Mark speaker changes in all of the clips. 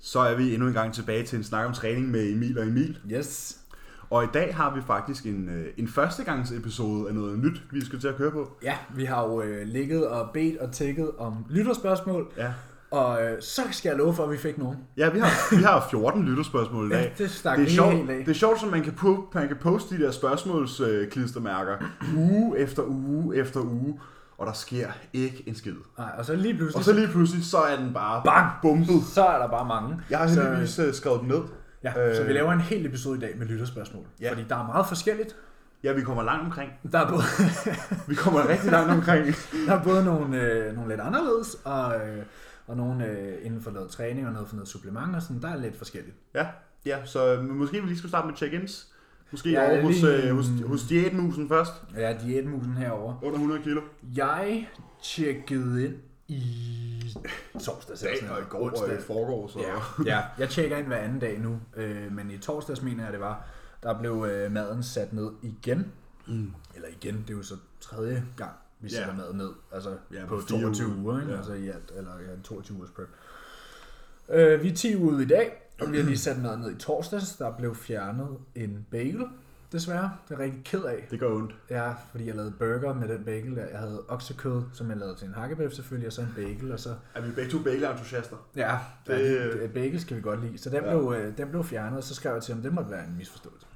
Speaker 1: Så er vi endnu en gang tilbage til en snak om træning med Emil og Emil.
Speaker 2: Yes.
Speaker 1: Og i dag har vi faktisk en, øh, en førstegangs episode af noget nyt, vi skal til at køre på.
Speaker 2: Ja, vi har jo øh, ligget og bedt og tækket om lytterspørgsmål,
Speaker 1: Ja,
Speaker 2: og øh, så skal jeg love for, at vi fik nogen.
Speaker 1: ja vi, har, vi har 14 lytterspørgsmål i dag.
Speaker 2: Ja, det stak
Speaker 1: det er
Speaker 2: lige
Speaker 1: sjovt,
Speaker 2: helt af.
Speaker 1: Det er sjovt, som man kan, po- man kan poste de der spørgsmålsklistermærker uge efter uge efter uge, og der sker ikke en skid.
Speaker 2: Nej, og så lige pludselig,
Speaker 1: Og så lige pludselig, så er den bare
Speaker 2: Bang!
Speaker 1: bumpet.
Speaker 2: så er der bare mange.
Speaker 1: Jeg har
Speaker 2: så,
Speaker 1: heldigvis øh, skrevet dem ned.
Speaker 2: ja, øh, så vi
Speaker 1: Øh.
Speaker 2: laver en hel episode i dag med lytterspørgsmål,
Speaker 1: Ja.
Speaker 2: ja. fordi der er meget forskelligt.
Speaker 1: Ja, vi kommer langt omkring.
Speaker 2: Der er både,
Speaker 1: Vi kommer rigtig langt omkring.
Speaker 2: der er både nogle, øh, nogle lidt anderledes, og, øh, og nogle øh, inden for noget træning og noget for noget supplement og sådan, der er lidt forskelligt.
Speaker 1: Ja, ja så øh, måske vi lige skulle starte med check-ins. Måske
Speaker 2: Ja,
Speaker 1: ja, over hos,
Speaker 2: lige-
Speaker 1: øh, hos, hos diætmusen først.
Speaker 2: Ja, diætmusen herover.
Speaker 1: Under 100 kilo.
Speaker 2: Jeg tjekkede ind i torsdags. eller sådan noget.
Speaker 1: øh,
Speaker 2: Onsdag.
Speaker 1: foregår, så...
Speaker 2: Ja, ja, jeg tjekker ind hver anden dag nu, øh, men i torsdags mener jeg, det var, der blev øh, maden sat ned igen.
Speaker 1: Mm.
Speaker 2: Eller igen, det er jo så tredje gang, vi
Speaker 1: Ja.
Speaker 2: sætter maden ned, altså
Speaker 1: Ja,
Speaker 2: ja,
Speaker 1: på
Speaker 2: på
Speaker 1: fire
Speaker 2: 22 uger, uger ikke?
Speaker 1: Ja.
Speaker 2: Ja. altså i alt, eller ja, en 22 ugers prep. Øh, vi er 10 ude i dag, og vi har lige sat maden ned i torsdags, der blev fjernet en bagel, desværre, det er jeg rigtig ked af.
Speaker 1: Det gør ondt.
Speaker 2: Ja, fordi jeg lavede burger med den bagel der. Jeg havde oksekød, som jeg lavede til en hakkebøf selvfølgelig, og så en bagel, og så...
Speaker 1: Er vi begge to bagel-entusiaster?
Speaker 2: Ja,
Speaker 1: Det- øh,
Speaker 2: det... ja det- bagel skal vi godt lide. Så den,
Speaker 1: Ja.
Speaker 2: ja. blev, øh, den blev fjernet, og så skrev jeg til ham, det måtte være en misforståelse.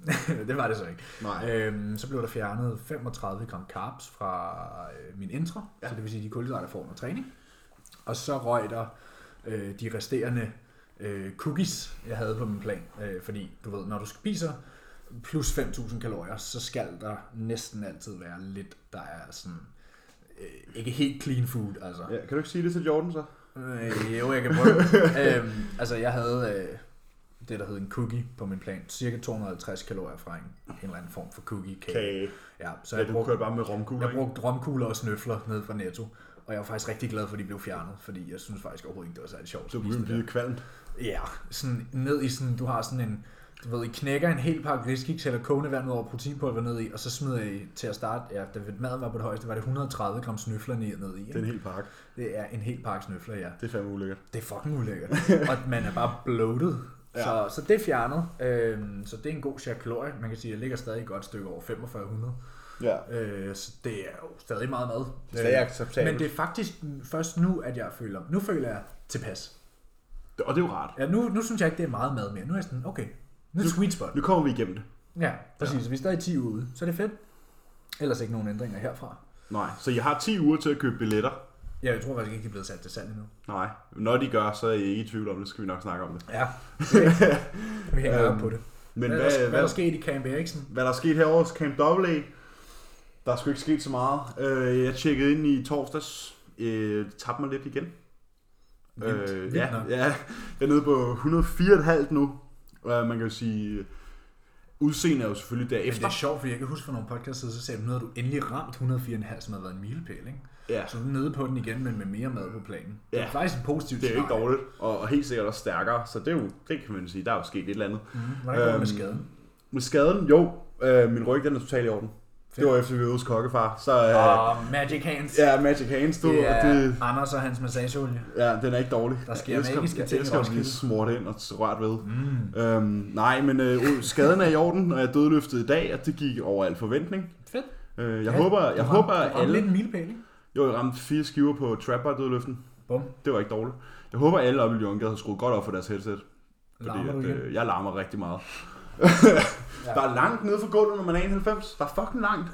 Speaker 2: det var det så ikke.
Speaker 1: Nej.
Speaker 2: Øhm, så blev der fjernet 35 gram carbs fra øh, min intra,
Speaker 1: Ja.
Speaker 2: ja. så det vil sige de kulhydrater jeg får under træning. Og så røg der øh, de resterende øh, cookies, jeg havde på min plan. Øh, fordi du ved, når du spiser plus 5.000 kalorier, så skal der næsten altid være lidt, der er sådan øh, ikke helt clean food. Altså.
Speaker 1: Ja, kan du ikke sige det til Jordan så?
Speaker 2: Øh, jo, jeg kan prøve. øhm, altså, jeg havde øh, det, der hed en cookie på min plan. Cirka 250 kalorier fra en, en eller anden form for cookie cake.
Speaker 1: Kage.
Speaker 2: Ja, så
Speaker 1: Ja,
Speaker 2: jeg,
Speaker 1: du
Speaker 2: brugte,
Speaker 1: kørte bare med romkugler,
Speaker 2: jeg
Speaker 1: ikke?
Speaker 2: brugte romkugler og snøfler ned fra Netto. Og jeg var faktisk rigtig glad for, at de blev fjernet, fordi jeg synes faktisk overhovedet ikke, det var særlig sjovt. at
Speaker 1: Så
Speaker 2: spise
Speaker 1: begyndte
Speaker 2: det
Speaker 1: blive kvalmt.
Speaker 2: der. Ja, sådan ned i sådan, du har sådan en, du ved, I knækker en hel pakke riskiks eller kogende vand ud over proteinpulver ned i, og så smider I til at starte, ja, da maden var på det højeste, var det 130 gram snøfler ned, ned
Speaker 1: Det er
Speaker 2: i. Ikke?
Speaker 1: en hel pakke.
Speaker 2: Det er en hel pakke snøfler, ja.
Speaker 1: Det er fandme ulækkert.
Speaker 2: Det er fucking ulækkert. og man er bare bloated.
Speaker 1: Ja.
Speaker 2: Ja. Så, så det er fjernet. Øhm, så det er en god share kalorie. Man kan sige, at jeg ligger stadig et godt stykke over 4500.
Speaker 1: Ja.
Speaker 2: Øh, så det er jo stadig meget mad.
Speaker 1: Det er stadig
Speaker 2: Øh,
Speaker 1: acceptabelt.
Speaker 2: Men det er faktisk først nu, at jeg føler, nu føler jeg tilpas.
Speaker 1: Og det er jo rart.
Speaker 2: Ja, nu, nu synes jeg ikke, det er meget mad mere. Nu er jeg sådan, okay, nu er det sweet spot.
Speaker 1: Nu kommer vi igennem det.
Speaker 2: Ja, præcis. Ja. Vi er stadig 10 uger ude, så det er fedt. Ellers ikke nogen ændringer herfra.
Speaker 1: Nej, så jeg har 10 uger til at købe billetter.
Speaker 2: Ja, jeg tror faktisk ikke, de er blevet sat til salg endnu.
Speaker 1: Nej, når de gør, så er jeg ikke i tvivl om det, så skal vi nok snakke om det.
Speaker 2: Ja, okay. vi hænger
Speaker 1: Øhm,
Speaker 2: op på det.
Speaker 1: Men
Speaker 2: hvad,
Speaker 1: hvad,
Speaker 2: er der, hvad er
Speaker 1: hvad,
Speaker 2: der sket i Camp Eriksen?
Speaker 1: hvad der er sket herovre hos Camp AA, der er sgu ikke sket så meget. Øh, jeg tjekkede ind i torsdags, øh, tabte mig lidt igen. Øh,
Speaker 2: Vildt, vildt
Speaker 1: ja,
Speaker 2: nok.
Speaker 1: ja, jeg er nede på 104,5 nu. Og man kan jo sige, øh, udseende er jo selvfølgelig
Speaker 2: Efter. Men
Speaker 1: derefter.
Speaker 2: det er sjovt, fordi jeg kan huske for nogle podcasts, siden, så sagde du, nu har du endelig ramt 104,5, som har været en milepæl, ikke?
Speaker 1: Ja,
Speaker 2: Så du er nede på den igen, men med mere mad på planen. Det er
Speaker 1: Ja.
Speaker 2: faktisk en positiv
Speaker 1: det er jo ikke dårligt, og, og helt sikkert også stærkere, så det, er jo, det kan man sige, der er jo sket et eller andet.
Speaker 2: Mm-hmm. Hvordan går det med
Speaker 1: Øhm,
Speaker 2: skaden?
Speaker 1: Med skaden, jo, øh, min ryg den er totalt i orden. Det var efter vi var hos kokkefar, så øh,
Speaker 2: Og Magic Hands.
Speaker 1: ja, Magic Hands, du,
Speaker 2: Ah. det er
Speaker 1: og det,
Speaker 2: Anders og hans massageolie.
Speaker 1: Ja, den er ikke dårlig.
Speaker 2: Der sker
Speaker 1: Jeg elsker-
Speaker 2: magiske ting i
Speaker 1: Jeg elsker at blive
Speaker 2: Roskilde.
Speaker 1: smurt ind og rørt ved.
Speaker 2: Mm.
Speaker 1: Øhm, nej, men øh, skaden er i orden, og jeg dødløftede i dag, og det gik over al forventning.
Speaker 2: Fedt.
Speaker 1: Øh, jeg håber, jeg håber
Speaker 2: at alle... lidt
Speaker 1: alle...
Speaker 2: en milepæl, ikke?
Speaker 1: Jo, jeg ramte fire skiver på trapper dødløften.
Speaker 2: Bum.
Speaker 1: Det var ikke dårligt. Jeg håber, alle oppe i Lyongade har skruet godt op for deres headset.
Speaker 2: Larmer du
Speaker 1: at,
Speaker 2: igen?
Speaker 1: øh, jeg larmer rigtig meget. Der er langt nede for gulvet, når man er 91. Der er fucking langt.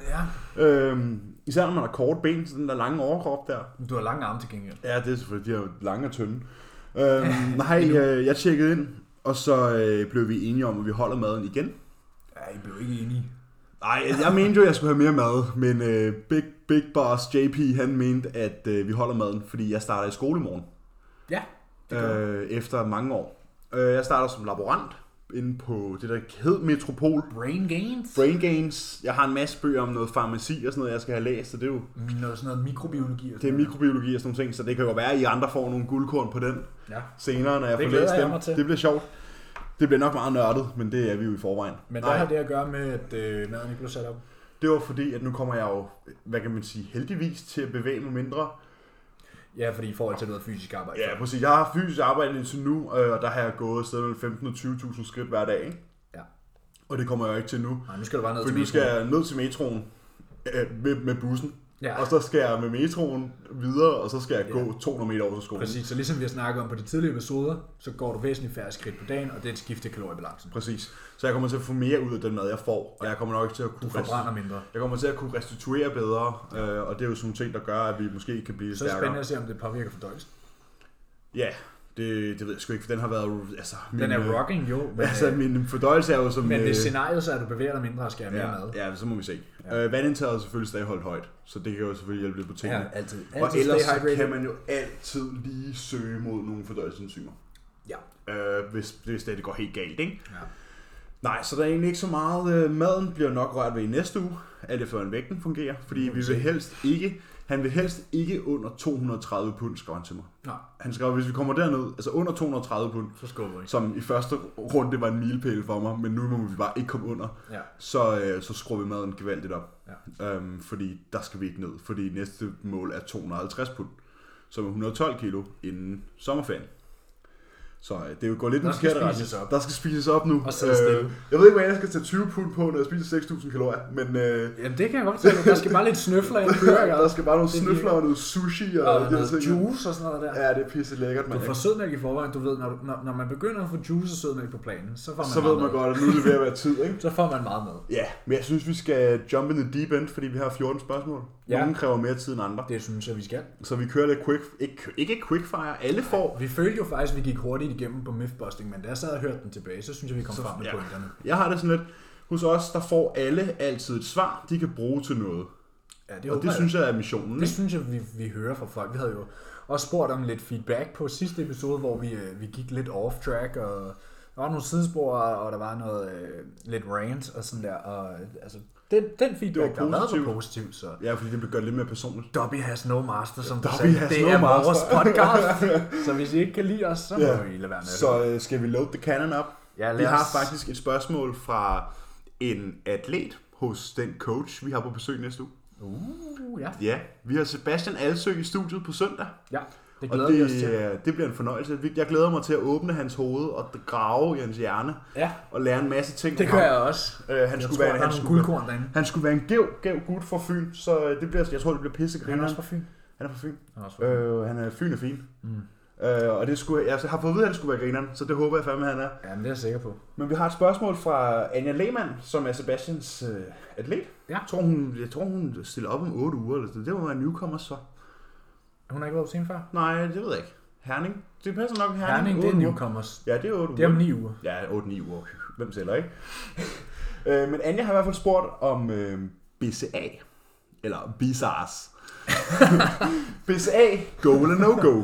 Speaker 2: Ja.
Speaker 1: Øhm, især når man har korte ben, så den der lange overkrop der.
Speaker 2: Du har lange arme til gengæld.
Speaker 1: Ja, det er selvfølgelig, de er jo lange og tynde. Øhm, nej, øh, jeg tjekkede ind, og så øh, blev vi enige om, at vi holder maden igen.
Speaker 2: Ja, I blev ikke enige.
Speaker 1: Nej, jeg mente jo, at jeg skulle have mere mad, men øh, Big, Big Boss JP, han mente, at øh, vi holder maden, fordi jeg starter i skole i morgen,
Speaker 2: Ja. Det gør
Speaker 1: øh, efter mange år. Øh, jeg starter som laborant inde på det, der hed Metropol.
Speaker 2: Brain gains.
Speaker 1: Brain Gains. Jeg har en masse bøger om noget farmaci og sådan noget, jeg skal have læst, så det er jo
Speaker 2: Noget sådan noget mikrobiologi. Og
Speaker 1: det er
Speaker 2: sådan
Speaker 1: mikrobiologi og sådan nogle ting, så det kan jo være, at I andre får nogle guldkorn på den.
Speaker 2: noget. Ja.
Speaker 1: senere, når jeg
Speaker 2: Det
Speaker 1: får
Speaker 2: glæder
Speaker 1: læst
Speaker 2: jeg
Speaker 1: dem.
Speaker 2: mig til.
Speaker 1: Det bliver sjovt. Det bliver nok meget nørdet, men det er vi jo i forvejen.
Speaker 2: Men hvad
Speaker 1: Nej,
Speaker 2: har det at gøre med, at øh, maden ikke blev sat op?
Speaker 1: det var fordi, at nu kommer jeg jo, hvad kan man sige, heldigvis til at bevæge mig mindre.
Speaker 2: Ja, fordi i forhold til noget fysisk arbejde.
Speaker 1: Ja, præcis. Jeg har fysisk arbejde indtil nu, øh, og der har jeg gået et sted mellem 15 og 20.000 skridt hver dag. Ikke?
Speaker 2: ja.
Speaker 1: Og det kommer jeg jo ikke til nu.
Speaker 2: Nej, nu skal du bare ned
Speaker 1: For
Speaker 2: til
Speaker 1: nu
Speaker 2: metroen.
Speaker 1: skal jeg ned til metroen øh, med, med bussen.
Speaker 2: Ja.
Speaker 1: Ja. Og så skal jeg med metroen videre, og så skal jeg gå 200 meter over til skolen.
Speaker 2: Præcis, så ligesom vi har snakket om på de tidligere episoder, så går du væsentligt færre skridt på dagen, og det er et skift i kaloriebalancen.
Speaker 1: Præcis. Så jeg kommer til at få mere ud af den mad, jeg får, og jeg kommer nok ikke til at kunne
Speaker 2: Forbrænder mindre.
Speaker 1: Jeg kommer til at kunne restituere bedre, øh, og det er jo sådan nogle ting, der gør, at vi måske kan blive
Speaker 2: Så er det
Speaker 1: stærkere.
Speaker 2: spændende at se, om det påvirker fordøjelsen.
Speaker 1: Ja, det, det ved jeg sgu ikke, for den har været... Altså, min,
Speaker 2: Den er
Speaker 1: øh,
Speaker 2: rocking, jo, men,
Speaker 1: Altså,
Speaker 2: øh,
Speaker 1: min fordøjelse er jo som...
Speaker 2: men
Speaker 1: øh,
Speaker 2: hvis scenariet så er, at du bevæger dig mindre og skal have mere
Speaker 1: ja,
Speaker 2: mad.
Speaker 1: ja, så må vi se. Ja. Øh, vandindtaget er selvfølgelig stadig holdt højt, så det kan jo selvfølgelig hjælpe lidt på tingene.
Speaker 2: Ja, altid.
Speaker 1: og
Speaker 2: Altid
Speaker 1: ellers
Speaker 2: stay
Speaker 1: så
Speaker 2: hydrated.
Speaker 1: kan man jo altid lige søge mod nogle fordøjelsesenzymer,
Speaker 2: Ja.
Speaker 1: øh, hvis, hvis det går helt galt, ikke?
Speaker 2: ja.
Speaker 1: Nej, så der er egentlig ikke så meget. Øh, maden bliver nok rørt ved i næste uge, alt efter hvordan vægten fungerer, fordi vi vil helst ikke, han vil helst ikke under 230 pund, skrev han til mig.
Speaker 2: Nå,
Speaker 1: Han skrev, hvis vi kommer derned, altså under 230 pund,
Speaker 2: så skubber vi.
Speaker 1: som i første runde var en milepæl for mig, men nu må vi bare ikke komme under,
Speaker 2: Ja.
Speaker 1: så, øh, så skruer vi maden gevaldigt op.
Speaker 2: Ja.
Speaker 1: Øhm, fordi der skal vi ikke ned, fordi næste mål er 250 pund, som er 112 kilo inden sommerferien. Så øh, det går lidt
Speaker 2: Der
Speaker 1: den
Speaker 2: skal
Speaker 1: forkerte retning.
Speaker 2: spises op.
Speaker 1: Der skal spises op nu. Øh,
Speaker 2: Og sidde stille.
Speaker 1: jeg ved ikke, hvordan jeg skal tage 20 pund på, når jeg spiser 6.000 kalorier, men øh,
Speaker 2: Jamen, det kan jeg godt se. Der skal bare lidt snøfler ind i kører,
Speaker 1: der skal bare nogle
Speaker 2: Det er
Speaker 1: snøfler og noget sushi og,
Speaker 2: Og
Speaker 1: de her
Speaker 2: noget
Speaker 1: ting.
Speaker 2: juice og sådan noget der.
Speaker 1: Ja, det er pisse lækkert,
Speaker 2: Du
Speaker 1: mand.
Speaker 2: får sødmælk i forvejen. Du ved, når, du, når, når man begynder at få juice og sødmælk på planen, så får man
Speaker 1: Så
Speaker 2: meget
Speaker 1: ved man
Speaker 2: med.
Speaker 1: godt, at nu er det ved at være tid, ikke?
Speaker 2: Så får man meget med.
Speaker 1: Ja, men jeg synes, vi skal jump in the deep end, fordi vi har 14 spørgsmål.
Speaker 2: Ja.
Speaker 1: Ja. Nogle kræver mere tid end andre.
Speaker 2: Det synes jeg, vi skal.
Speaker 1: Så vi kører lidt quick... Ikke, ikke quickfire, alle får.
Speaker 2: Vi følte jo faktisk, at vi gik hurtigt igennem på mythbusting, men da jeg sad og hørte den tilbage, så synes jeg, vi kom frem med
Speaker 1: ja.
Speaker 2: pointerne.
Speaker 1: Jeg har det sådan lidt... Hos os, der får alle altid et svar, de kan bruge til noget.
Speaker 2: Ja, det,
Speaker 1: Og det synes jeg er missionen.
Speaker 2: det
Speaker 1: ikke?
Speaker 2: synes jeg, vi, vi hører fra folk. Vi havde jo også spurgt om lidt feedback på sidste episode, hvor vi, øh, vi gik lidt off track, og der var nogle sidespor, og der var noget øh, lidt rant og sådan der. Og, øh, altså, den, den feedback,
Speaker 1: Det var
Speaker 2: der har været, var
Speaker 1: positivt.
Speaker 2: positiv, så...
Speaker 1: Ja, fordi det gør det lidt mere personligt.
Speaker 2: Dobby has no master, som du
Speaker 1: Dobby
Speaker 2: sagde.
Speaker 1: has
Speaker 2: Det
Speaker 1: no
Speaker 2: er
Speaker 1: master.
Speaker 2: vores podcast. så hvis I ikke kan lide os, så må
Speaker 1: Ja.
Speaker 2: I lade være med det.
Speaker 1: Så øh, skal vi load the cannon op.
Speaker 2: Ja, lad
Speaker 1: vi har
Speaker 2: os-
Speaker 1: faktisk et spørgsmål fra en atlet hos den coach, vi har på besøg næste uge.
Speaker 2: Uh, ja.
Speaker 1: Ja, vi har Sebastian Alsø i studiet på søndag.
Speaker 2: ja, det
Speaker 1: Og
Speaker 2: glæder vi os
Speaker 1: det,
Speaker 2: til.
Speaker 1: øh, det bliver en fornøjelse. Vi- Jeg glæder mig til at åbne hans hoved og grave i hans hjerne
Speaker 2: Ja,
Speaker 1: og lære en masse ting
Speaker 2: det
Speaker 1: om
Speaker 2: gør
Speaker 1: ham.
Speaker 2: jeg også.
Speaker 1: Øh, han,
Speaker 2: Jeg
Speaker 1: skulle
Speaker 2: tror,
Speaker 1: være,
Speaker 2: der er
Speaker 1: han,
Speaker 2: nogle
Speaker 1: skulle, være-
Speaker 2: guldkorn derinde.
Speaker 1: han skulle være en gæv, gæv gut fra Fyn, så øh, det bliver, jeg tror, det bliver pisse
Speaker 2: Han er også
Speaker 1: han,
Speaker 2: fra Fyn.
Speaker 1: han er fra Fyn.
Speaker 2: Han er også fra Fyn.
Speaker 1: Øh, han er Fyn er fin. Mm. Øh, og det skulle, jeg har fået at vide, at han skulle være grineren, så det håber jeg fandme, han er.
Speaker 2: Ja, men det er jeg sikker på.
Speaker 1: Men vi har et spørgsmål fra Anja Lehmann, som er Sebastians øh, atlet.
Speaker 2: Ja.
Speaker 1: Jeg, tror, hun, jeg tror, hun stiller op om 8 uger, eller sådan. det må være newcomer så.
Speaker 2: Hun har ikke været på scenen før.
Speaker 1: Nej, det ved jeg ikke. Herning. Det passer nok Herning.
Speaker 2: Herning, det er
Speaker 1: 8 uger.
Speaker 2: newcomers.
Speaker 1: Ja, det er 8
Speaker 2: Det er om ni uger.
Speaker 1: Ja, 8-9 uger. Hvem sælger ikke? øh, men Anja har i hvert fald spurgt om øh, BCA. Eller BISARS. BCA, go eller no go.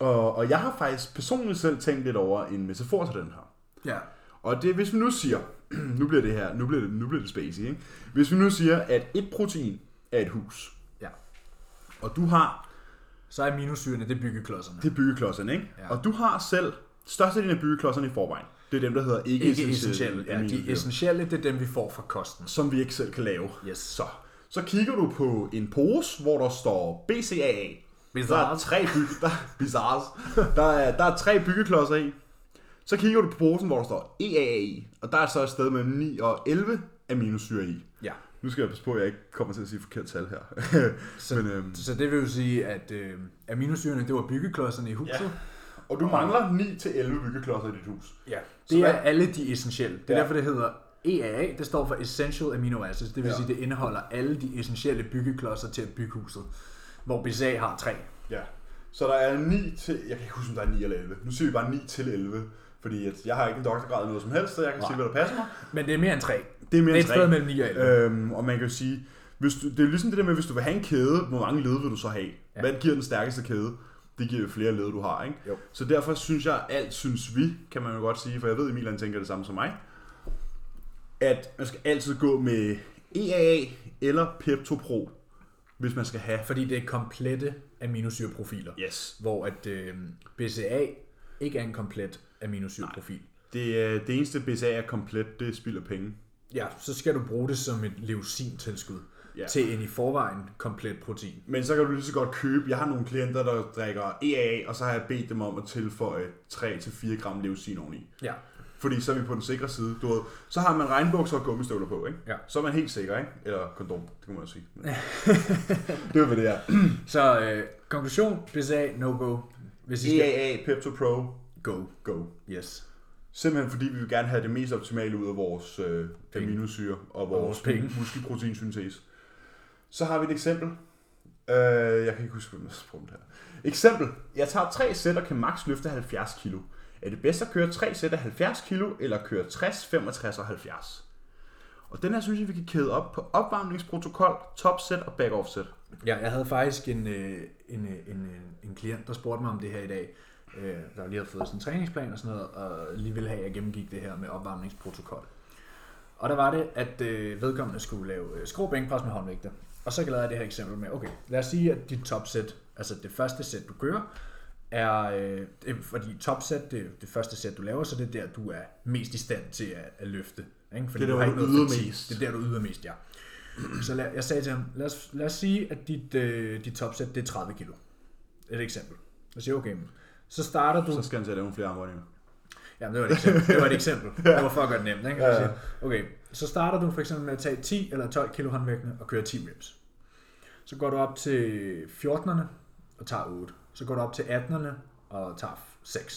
Speaker 1: Og, og jeg har faktisk personligt selv tænkt lidt over en metafor til den her.
Speaker 2: Ja.
Speaker 1: Og det, hvis vi nu siger, nu bliver det her, nu bliver det, nu bliver det spacey, ikke? Hvis vi nu siger, at et protein er et hus,
Speaker 2: ja.
Speaker 1: og du har,
Speaker 2: Så er minusyrene, det er byggeklodserne.
Speaker 1: det er byggeklodserne, ikke?
Speaker 2: Ja.
Speaker 1: Og du har selv størstedelen af byggeklodserne i forvejen. Det er dem, der hedder ikke,
Speaker 2: Ikke essentielle. Ja, de
Speaker 1: aminosyrer.
Speaker 2: essentielle, det er dem, vi får fra kosten.
Speaker 1: som vi ikke selv kan lave.
Speaker 2: Yes.
Speaker 1: Så, så kigger du på en pose, hvor der står BCAA. Der er
Speaker 2: Bizarre.
Speaker 1: tre bygge, der, bizarres. Der, er, der er tre byggeklodser i. Så kigger du på posen, hvor der står EAA i, og der er så et sted mellem 9 og 11 aminosyre i.
Speaker 2: Ja.
Speaker 1: Nu skal jeg passe på, at jeg ikke kommer til at sige forkert tal her.
Speaker 2: Så,
Speaker 1: Men, øhm,
Speaker 2: så det vil jo sige, at øh, aminosyrene, det var byggeklodserne i huset.
Speaker 1: Ja. og du mangler 9 til 11 byggeklodser i dit hus.
Speaker 2: Ja,
Speaker 1: Så
Speaker 2: det er
Speaker 1: hvad-
Speaker 2: alle de essentielle. Det er
Speaker 1: Ja.
Speaker 2: derfor, det hedder EAA, det står for Essential Amino Acids. Det vil
Speaker 1: Ja.
Speaker 2: sige, det indeholder alle de essentielle byggeklodser til at bygge huset. Hvor BCA har tre.
Speaker 1: Ja. Så der er 9 til, jeg kan ikke huske, om der er 9 eller 11. Nu siger vi bare 9 til 11, fordi at jeg har ikke en doktorgrad eller noget som helst, så jeg kan
Speaker 2: Nej.
Speaker 1: sige, hvad der passer mig.
Speaker 2: Men det er mere end tre.
Speaker 1: Det er mere
Speaker 2: Det er et
Speaker 1: end tre.
Speaker 2: sted mellem 9 og 11.
Speaker 1: Øhm, og man kan jo sige, hvis du, det er ligesom det der med, hvis du vil have en kæde, hvor mange led vil du så have?
Speaker 2: Ja.
Speaker 1: Ja. Hvad giver den stærkeste kæde? Det giver jo flere led, du har, ikke?
Speaker 2: Jo.
Speaker 1: Så derfor synes jeg, alt synes vi, kan man jo godt sige, for jeg ved, Emil han tænker det samme som mig, at man skal altid gå med EAA eller Pepto Pro, hvis man skal have...
Speaker 2: Fordi det er komplette aminosyreprofiler.
Speaker 1: Yes.
Speaker 2: Hvor at øh, BCA ikke er en komplet aminosyreprofil.
Speaker 1: Det, er- det eneste BCA er komplet, det spilder penge.
Speaker 2: Ja, så skal du bruge det som et leucintilskud.
Speaker 1: Ja.
Speaker 2: ja. til en i forvejen komplet protein.
Speaker 1: Men så kan du lige så godt købe, jeg har nogle klienter, der drikker EAA, og så har jeg bedt dem om at tilføje 3-4 gram leucin oveni.
Speaker 2: Ja.
Speaker 1: Fordi så er vi på den sikre side. Du ved, så har man regnbukser og gummistøvler på, ikke?
Speaker 2: Ja.
Speaker 1: Så er man helt sikker, ikke? Eller kondom, det kan man også sige. Men... det er hvad det er.
Speaker 2: Så øh, konklusion, PSA, no go. Hvis I skal,
Speaker 1: EAA, E Pepto Pro,
Speaker 2: go.
Speaker 1: go.
Speaker 2: Yes.
Speaker 1: Simpelthen fordi vi vil gerne have det mest optimale ud af vores øh,
Speaker 2: Penge.
Speaker 1: aminosyre og vores,
Speaker 2: vores
Speaker 1: vores
Speaker 2: penge.
Speaker 1: muskelproteinsyntese. Så har vi et eksempel. Øh, jeg kan ikke huske, hvordan jeg skal bruge det her. Eksempel. Jeg tager tre sæt og kan max løfte 70 kilo. Er det bedst at køre tre sæt af 70 kilo, eller køre 60, 65 og 70? Og den her synes jeg, vi kan kæde op på opvarmningsprotokol, topset og backoffset.
Speaker 2: Ja, jeg havde faktisk en, øh, en, øh, en, en, en klient, der spurgte mig om det her i dag, øh, der lige havde fået sådan en træningsplan og sådan noget, og lige ville have, at jeg gennemgik det her med opvarmningsprotokol. Og der var det, at øh, vedkommende skulle lave øh, skrå bænkpres med håndvægter. Og så lavede jeg det her eksempel med, okay, lad os sige, at dit topsæt, altså det første sæt, du kører, er, øh, det- fordi topsæt, det er det første sæt, du laver, så det er der, du er mest i stand til at, at løfte. Ikke? Fordi
Speaker 1: Det er
Speaker 2: du
Speaker 1: der,
Speaker 2: har
Speaker 1: hvor du
Speaker 2: ikke
Speaker 1: yder
Speaker 2: noget fatigue.
Speaker 1: mest.
Speaker 2: Det er der, du yder mest, ja. Så lad, jeg sagde til ham, lad os, lad os sige, at dit, øh, dit topsæt, det er 30 kilo. Et eksempel. Jeg siger, okay, men så starter du...
Speaker 1: Så skal han til at lave nogle flere armbøjninger.
Speaker 2: Ja, det var et eksempel. Det var et eksempel. Det var for at gøre det nemt. Ikke? Ja, ja. Okay, så starter du for eksempel med at tage 10 eller 12 kilo håndvægtene og køre 10 reps. Så går du op til 14'erne og tager 8. Så går du op til 18'erne og tager 6.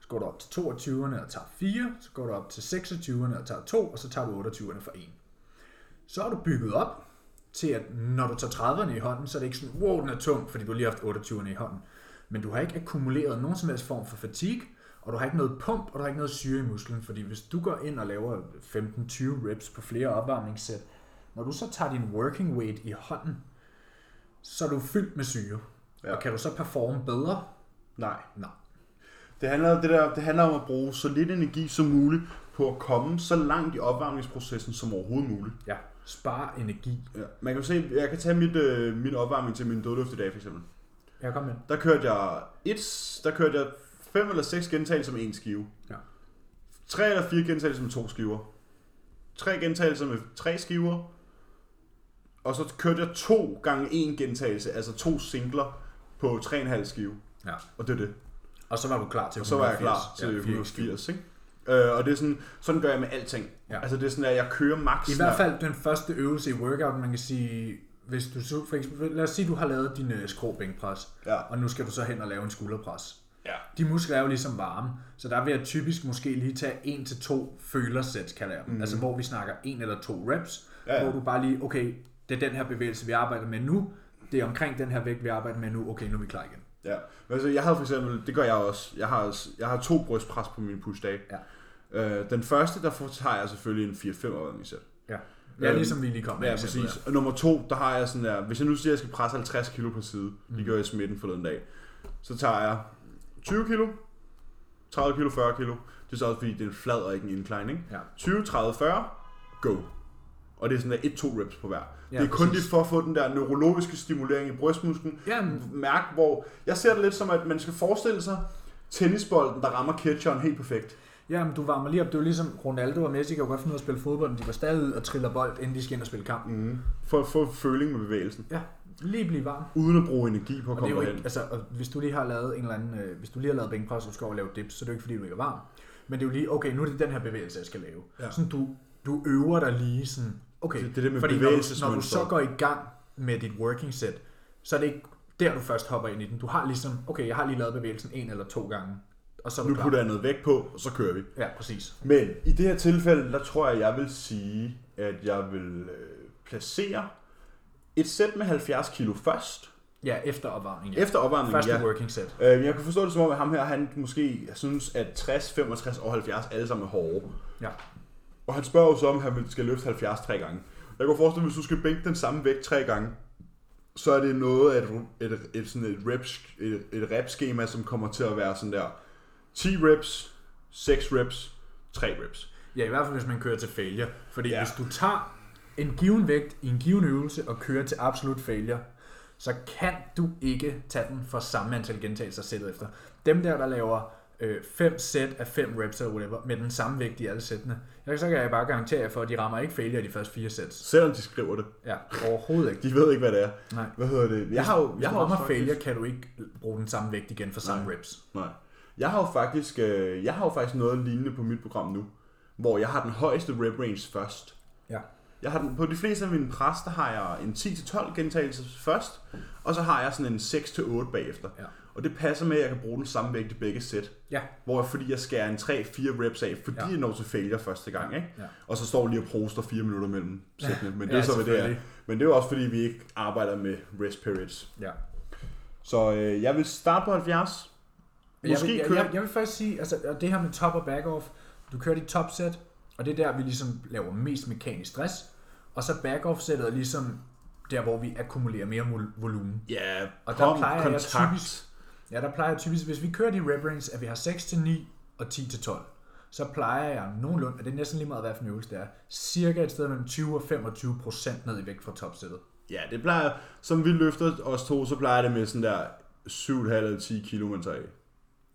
Speaker 2: Så går du op til 22'erne og tager 4. Så går du op til 26'erne og tager 2. Og så tager du 28'erne for 1. Så er du bygget op til, at når du tager 30'erne i hånden, så er det ikke sådan, wow, den er tung, fordi du lige har haft 28'erne i hånden. Men du har ikke akkumuleret nogen som helst form for fatigue, og du har ikke noget pump, og du har ikke noget syre i musklen, fordi hvis du går ind og laver 15-20 reps på flere opvarmningssæt, når du så tager din working weight i hånden, så er du fyldt med syre.
Speaker 1: Ja.
Speaker 2: Ja. Og kan du så performe bedre?
Speaker 1: Nej.
Speaker 2: Nej.
Speaker 1: Det handler, det, der, det handler om at bruge så lidt energi som muligt på at komme så langt i opvarmningsprocessen som overhovedet muligt.
Speaker 2: Ja. Spar energi.
Speaker 1: Ja. Man kan jo se, jeg kan tage mit, øh, min opvarmning til min dødløft i dag for eksempel.
Speaker 2: Ja, kom med.
Speaker 1: Der kørte jeg et, der kørte jeg fem eller seks gentagelser med en skive.
Speaker 2: Ja.
Speaker 1: Tre eller fire gentagelser med to skiver. Tre gentagelser med tre skiver. Og så kørte jeg to gange en gentagelse, altså to singler på tre og en halv skive.
Speaker 2: Ja.
Speaker 1: Og det er det.
Speaker 2: Og så var du klar til
Speaker 1: Og så var jeg klar til 180, ikke? Øh, og det er sådan, sådan gør jeg med alting. Ja.
Speaker 2: Ja.
Speaker 1: Altså det er sådan, at jeg kører max.
Speaker 2: I hvert fald den første øvelse i workouten, man kan sige, hvis du så, for eksempel, lad os sige, du har lavet din øh, skrå bænkpres,
Speaker 1: Ja.
Speaker 2: og nu skal du så hen og lave en skulderpres.
Speaker 1: Ja.
Speaker 2: De muskler er jo ligesom varme, så der vil jeg typisk måske lige tage en til to følersæt, kalder jeg dem. Mm. Altså hvor vi snakker en eller to reps,
Speaker 1: Mhm. Ja, ja.
Speaker 2: ja. hvor du bare lige, okay, det er den her bevægelse, vi arbejder med nu, det er omkring den her vægt, vi arbejder med nu, okay, nu er vi klar igen.
Speaker 1: Ja. Men altså, jeg havde for eksempel, det gør jeg også, jeg har, jeg har to brystpres på min pushdag.
Speaker 2: Ja.
Speaker 1: Øh, den første, der får- tager jeg selvfølgelig en 4-5 opvarmningssæt.
Speaker 2: Ja, ja
Speaker 1: Øhm,
Speaker 2: ligesom vi lige kom med.
Speaker 1: Ja,
Speaker 2: eksemplet
Speaker 1: præcis. Og nummer to, der har jeg sådan der, hvis jeg nu siger, at jeg skal presse 50 kilo på side, mm. det gør jeg i smitten forleden dag, så tager jeg 20 kilo, 30 kilo, 40 kilo. Det er så også fordi, det er en flad og ikke en incline, ikke?
Speaker 2: Ja.
Speaker 1: 20, 30, 40, go. Og det er sådan der 1-2 reps på hver. Ja,
Speaker 2: Ja,
Speaker 1: det er kun
Speaker 2: præcis.
Speaker 1: lige for at få den der neurologiske stimulering i brystmusklen.
Speaker 2: Ja, men-
Speaker 1: Mærk hvor... Jeg ser det lidt som, at man skal forestille sig tennisbolden, der rammer catcheren helt perfekt.
Speaker 2: Jamen, du varmer lige op. Det er jo ligesom Ronaldo og Messi kan jo godt finde ud af at spille fodbold, men de går stadig ud og triller bold, inden de skal ind og spille kamp. Mm.
Speaker 1: For at få føling med bevægelsen.
Speaker 2: Ja, lige blive varm.
Speaker 1: Uden at bruge energi på at
Speaker 2: Det er
Speaker 1: komme
Speaker 2: jo
Speaker 1: derhen.
Speaker 2: ikke, altså, og hvis du lige har lavet en eller anden, øh, hvis du lige har lavet bænkpres, og du skal over og lave dips, så er det jo ikke fordi, du ikke er varm. Men det er jo lige, okay, nu er det den her bevægelse, jeg skal lave.
Speaker 1: Ja.
Speaker 2: Ja. Sådan du, du øver dig lige sådan, okay,
Speaker 1: Det- det er det med
Speaker 2: fordi når du, når du
Speaker 1: bevægelsesmønstret.
Speaker 2: så går i gang med dit working set, så er det ikke der, du først hopper ind i den. Du har ligesom, okay, jeg har lige lavet bevægelsen en eller to gange, og så er du
Speaker 1: Nu
Speaker 2: klar.
Speaker 1: putter jeg noget vægt på, og så kører vi.
Speaker 2: Ja, præcis.
Speaker 1: Men i det her tilfælde, der tror jeg, jeg vil sige, at jeg vil øh, placere et sæt med 70 kilo først.
Speaker 2: Ja, efter opvarmning. Ja.
Speaker 1: Efter opvarmningen,
Speaker 2: Første
Speaker 1: ja.
Speaker 2: working set.
Speaker 1: Øh, jeg kan forstå det som om, at ham her, han måske synes, at 60, 65 og 70 alle sammen er hårde.
Speaker 2: Ja.
Speaker 1: Og han spørger jo så, om han vil- skal løfte 70 tre gange. Jeg kan forestille mig, hvis du skal bænke den samme vægt tre gange, så er det noget af et, et, et, sådan et, rep, et, et rep-schema, som kommer til at være sådan der 10 reps, 6 reps, 3 reps.
Speaker 2: Ja, i hvert fald hvis man kører til failure. Fordi
Speaker 1: Ja.
Speaker 2: ja. hvis du tager en given vægt i en given øvelse og kører til absolut failure, så kan du ikke tage den for samme antal gentagelser sættet efter. Dem der, der laver øh, øh, fem sæt af fem reps eller whatever, med den samme vægt i alle sættene. Jeg, så kan jeg bare garantere jer for, at de rammer ikke failure de første fire sæt.
Speaker 1: Selvom de skriver det.
Speaker 2: Ja, overhovedet ikke.
Speaker 1: De ved ikke, hvad det er.
Speaker 2: Nej.
Speaker 1: Hvad hedder det? Jeg har jo,
Speaker 2: Hvis
Speaker 1: jeg
Speaker 2: du
Speaker 1: har jo
Speaker 2: rammer
Speaker 1: faktisk-
Speaker 2: failure, kan du ikke bruge den samme vægt igen for samme
Speaker 1: Nej.
Speaker 2: reps.
Speaker 1: Nej. Jeg har jo faktisk, øh, jeg har jo faktisk noget lignende på mit program nu, hvor jeg har den højeste rep range først.
Speaker 2: Ja.
Speaker 1: Jeg har den, på de fleste af mine pres, der har jeg en 10-12 gentagelse først, og så har jeg sådan en 6-8 bagefter.
Speaker 2: Ja.
Speaker 1: Og det passer med, at jeg kan bruge den samme vægt i begge sæt.
Speaker 2: Ja.
Speaker 1: Hvor jeg, fordi jeg skærer en 3-4 reps af, fordi
Speaker 2: Ja.
Speaker 1: ja. jeg når til failure første gang. Ikke?
Speaker 2: Ja.
Speaker 1: Og så står lige og proster 4 minutter mellem sættene. Men det
Speaker 2: Ja,
Speaker 1: er så, hvad det er.
Speaker 2: selvfølgelig.
Speaker 1: Men det er jo også, fordi vi ikke arbejder med rest periods.
Speaker 2: ja.
Speaker 1: Så øh, jeg vil starte på 70. Måske
Speaker 2: jeg, vil, jeg,
Speaker 1: køre-
Speaker 2: jeg, jeg vil først sige, altså og det her med top og back-off, du kører dit topsæt, og det er der, vi ligesom laver mest mekanisk stress, og så back-off-sættet er ligesom der, hvor vi akkumulerer mere vol- volumen.
Speaker 1: Ja,
Speaker 2: Og der
Speaker 1: kom,
Speaker 2: plejer jeg
Speaker 1: kontakt.
Speaker 2: typisk- Ja, der plejer jeg typisk, hvis vi kører de rep range, at vi har 6 til 9 og 10 til 12, så plejer jeg nogenlunde, og det er næsten lige meget, hvad for en øvelse det er, cirka et sted mellem 20 og 25 procent ned i vægt fra topsættet.
Speaker 1: Ja, det plejer, som vi løfter os to, så plejer det med sådan der 7,5 eller 10 kilo, man tager af.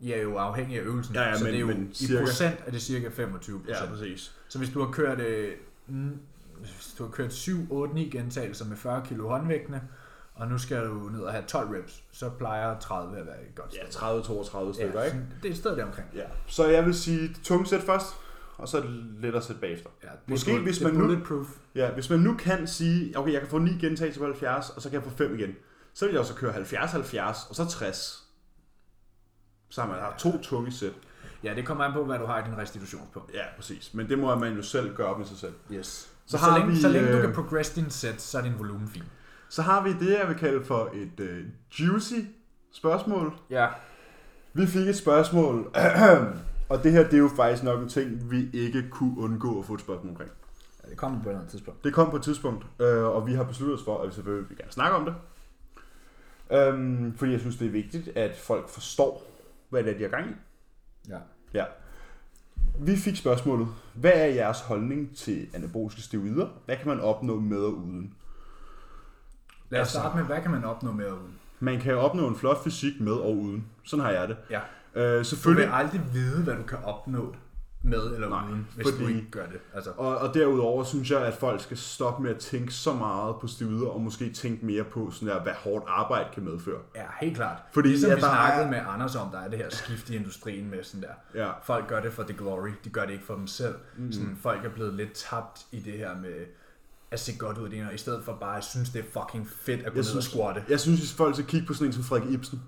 Speaker 2: Ja, jo afhængig af øvelsen,
Speaker 1: Ja, ja,
Speaker 2: så
Speaker 1: men-
Speaker 2: det er jo
Speaker 1: men
Speaker 2: i
Speaker 1: cirka.
Speaker 2: procent er det cirka 25 procent.
Speaker 1: præcis.
Speaker 2: Så hvis du har kørt, øh, mm, hvis du har kørt 7, 8, 9 gentagelser med 40 kilo håndvægtene, og nu skal du ned og have 12 reps, så plejer 30 at være et godt
Speaker 1: Ja,
Speaker 2: sted.
Speaker 1: 30-32 stykker, ikke?
Speaker 2: sådan- det er et sted deromkring.
Speaker 1: Ja, så jeg vil sige tungt sæt først, og så lettere sæt bagefter.
Speaker 2: Ja, det er
Speaker 1: Måske
Speaker 2: bullet-
Speaker 1: hvis
Speaker 2: det er
Speaker 1: man nu-
Speaker 2: Bulletproof.
Speaker 1: Ja, hvis man nu kan sige, okay, jeg kan få 9 gentagelser på 70, og så kan jeg få 5 igen, så vil jeg også køre 70-70, og så 60. Så har man haft to tunge sæt.
Speaker 2: Ja, det kommer an på, hvad du har i din restitutionspunkt.
Speaker 1: Ja, præcis. Men det må man jo selv gøre op med sig selv.
Speaker 2: Yes.
Speaker 1: Så
Speaker 2: Så,
Speaker 1: har
Speaker 2: så, længe,
Speaker 1: vi,
Speaker 2: så længe du
Speaker 1: øh,
Speaker 2: kan progress din set, så er din volumen fin.
Speaker 1: Så har vi det, jeg vil kalde for et øh, juicy spørgsmål.
Speaker 2: Ja.
Speaker 1: Vi fik et spørgsmål, og det her det er jo faktisk nok en ting, vi ikke kunne undgå at få et spørgsmål omkring.
Speaker 2: Det kommer på et eller andet tidspunkt.
Speaker 1: Det kom på et tidspunkt, øh, og vi har besluttet os for, at vi selvfølgelig vil gerne snakke om det. Øhm, fordi jeg synes, det er vigtigt, at folk forstår, hvad det er, de har gang i.
Speaker 2: Ja.
Speaker 1: Ja. Vi fik spørgsmålet, hvad er jeres holdning til anaboliske steroider? Hvad kan man opnå med og uden?
Speaker 2: Lad os
Speaker 1: Altså-
Speaker 2: starte med, hvad kan man opnå med at uden?
Speaker 1: Man kan jo opnå en flot fysik med og uden. Sådan har jeg det.
Speaker 2: Ja.
Speaker 1: Øh,
Speaker 2: Du vil
Speaker 1: selvfølgelig.
Speaker 2: aldrig vide, hvad du kan opnå med eller
Speaker 1: Nej,
Speaker 2: uden, hvis du
Speaker 1: fordi-
Speaker 2: ikke gør det. Altså,
Speaker 1: Og, og derudover synes jeg, at folk skal stoppe med at tænke så meget på steroider, og måske tænke mere på, sådan der, hvad hårdt arbejde kan medføre.
Speaker 2: Ja, helt klart.
Speaker 1: Fordi,
Speaker 2: Fordi ligesom
Speaker 1: ja,
Speaker 2: ja, vi
Speaker 1: der
Speaker 2: snakkede
Speaker 1: er-
Speaker 2: med Anders om, der er det her skift i industrien med sådan der.
Speaker 1: Ja.
Speaker 2: Folk gør det for the glory, de gør det ikke for dem selv. Mm. Sådan, folk er blevet lidt tabt i det her med at se godt ud af det ene, og i stedet for bare at synes, det er fucking fedt at gå ned og squatte.
Speaker 1: jeg synes, at folk skal kigge på sådan en som Frederik Ibsen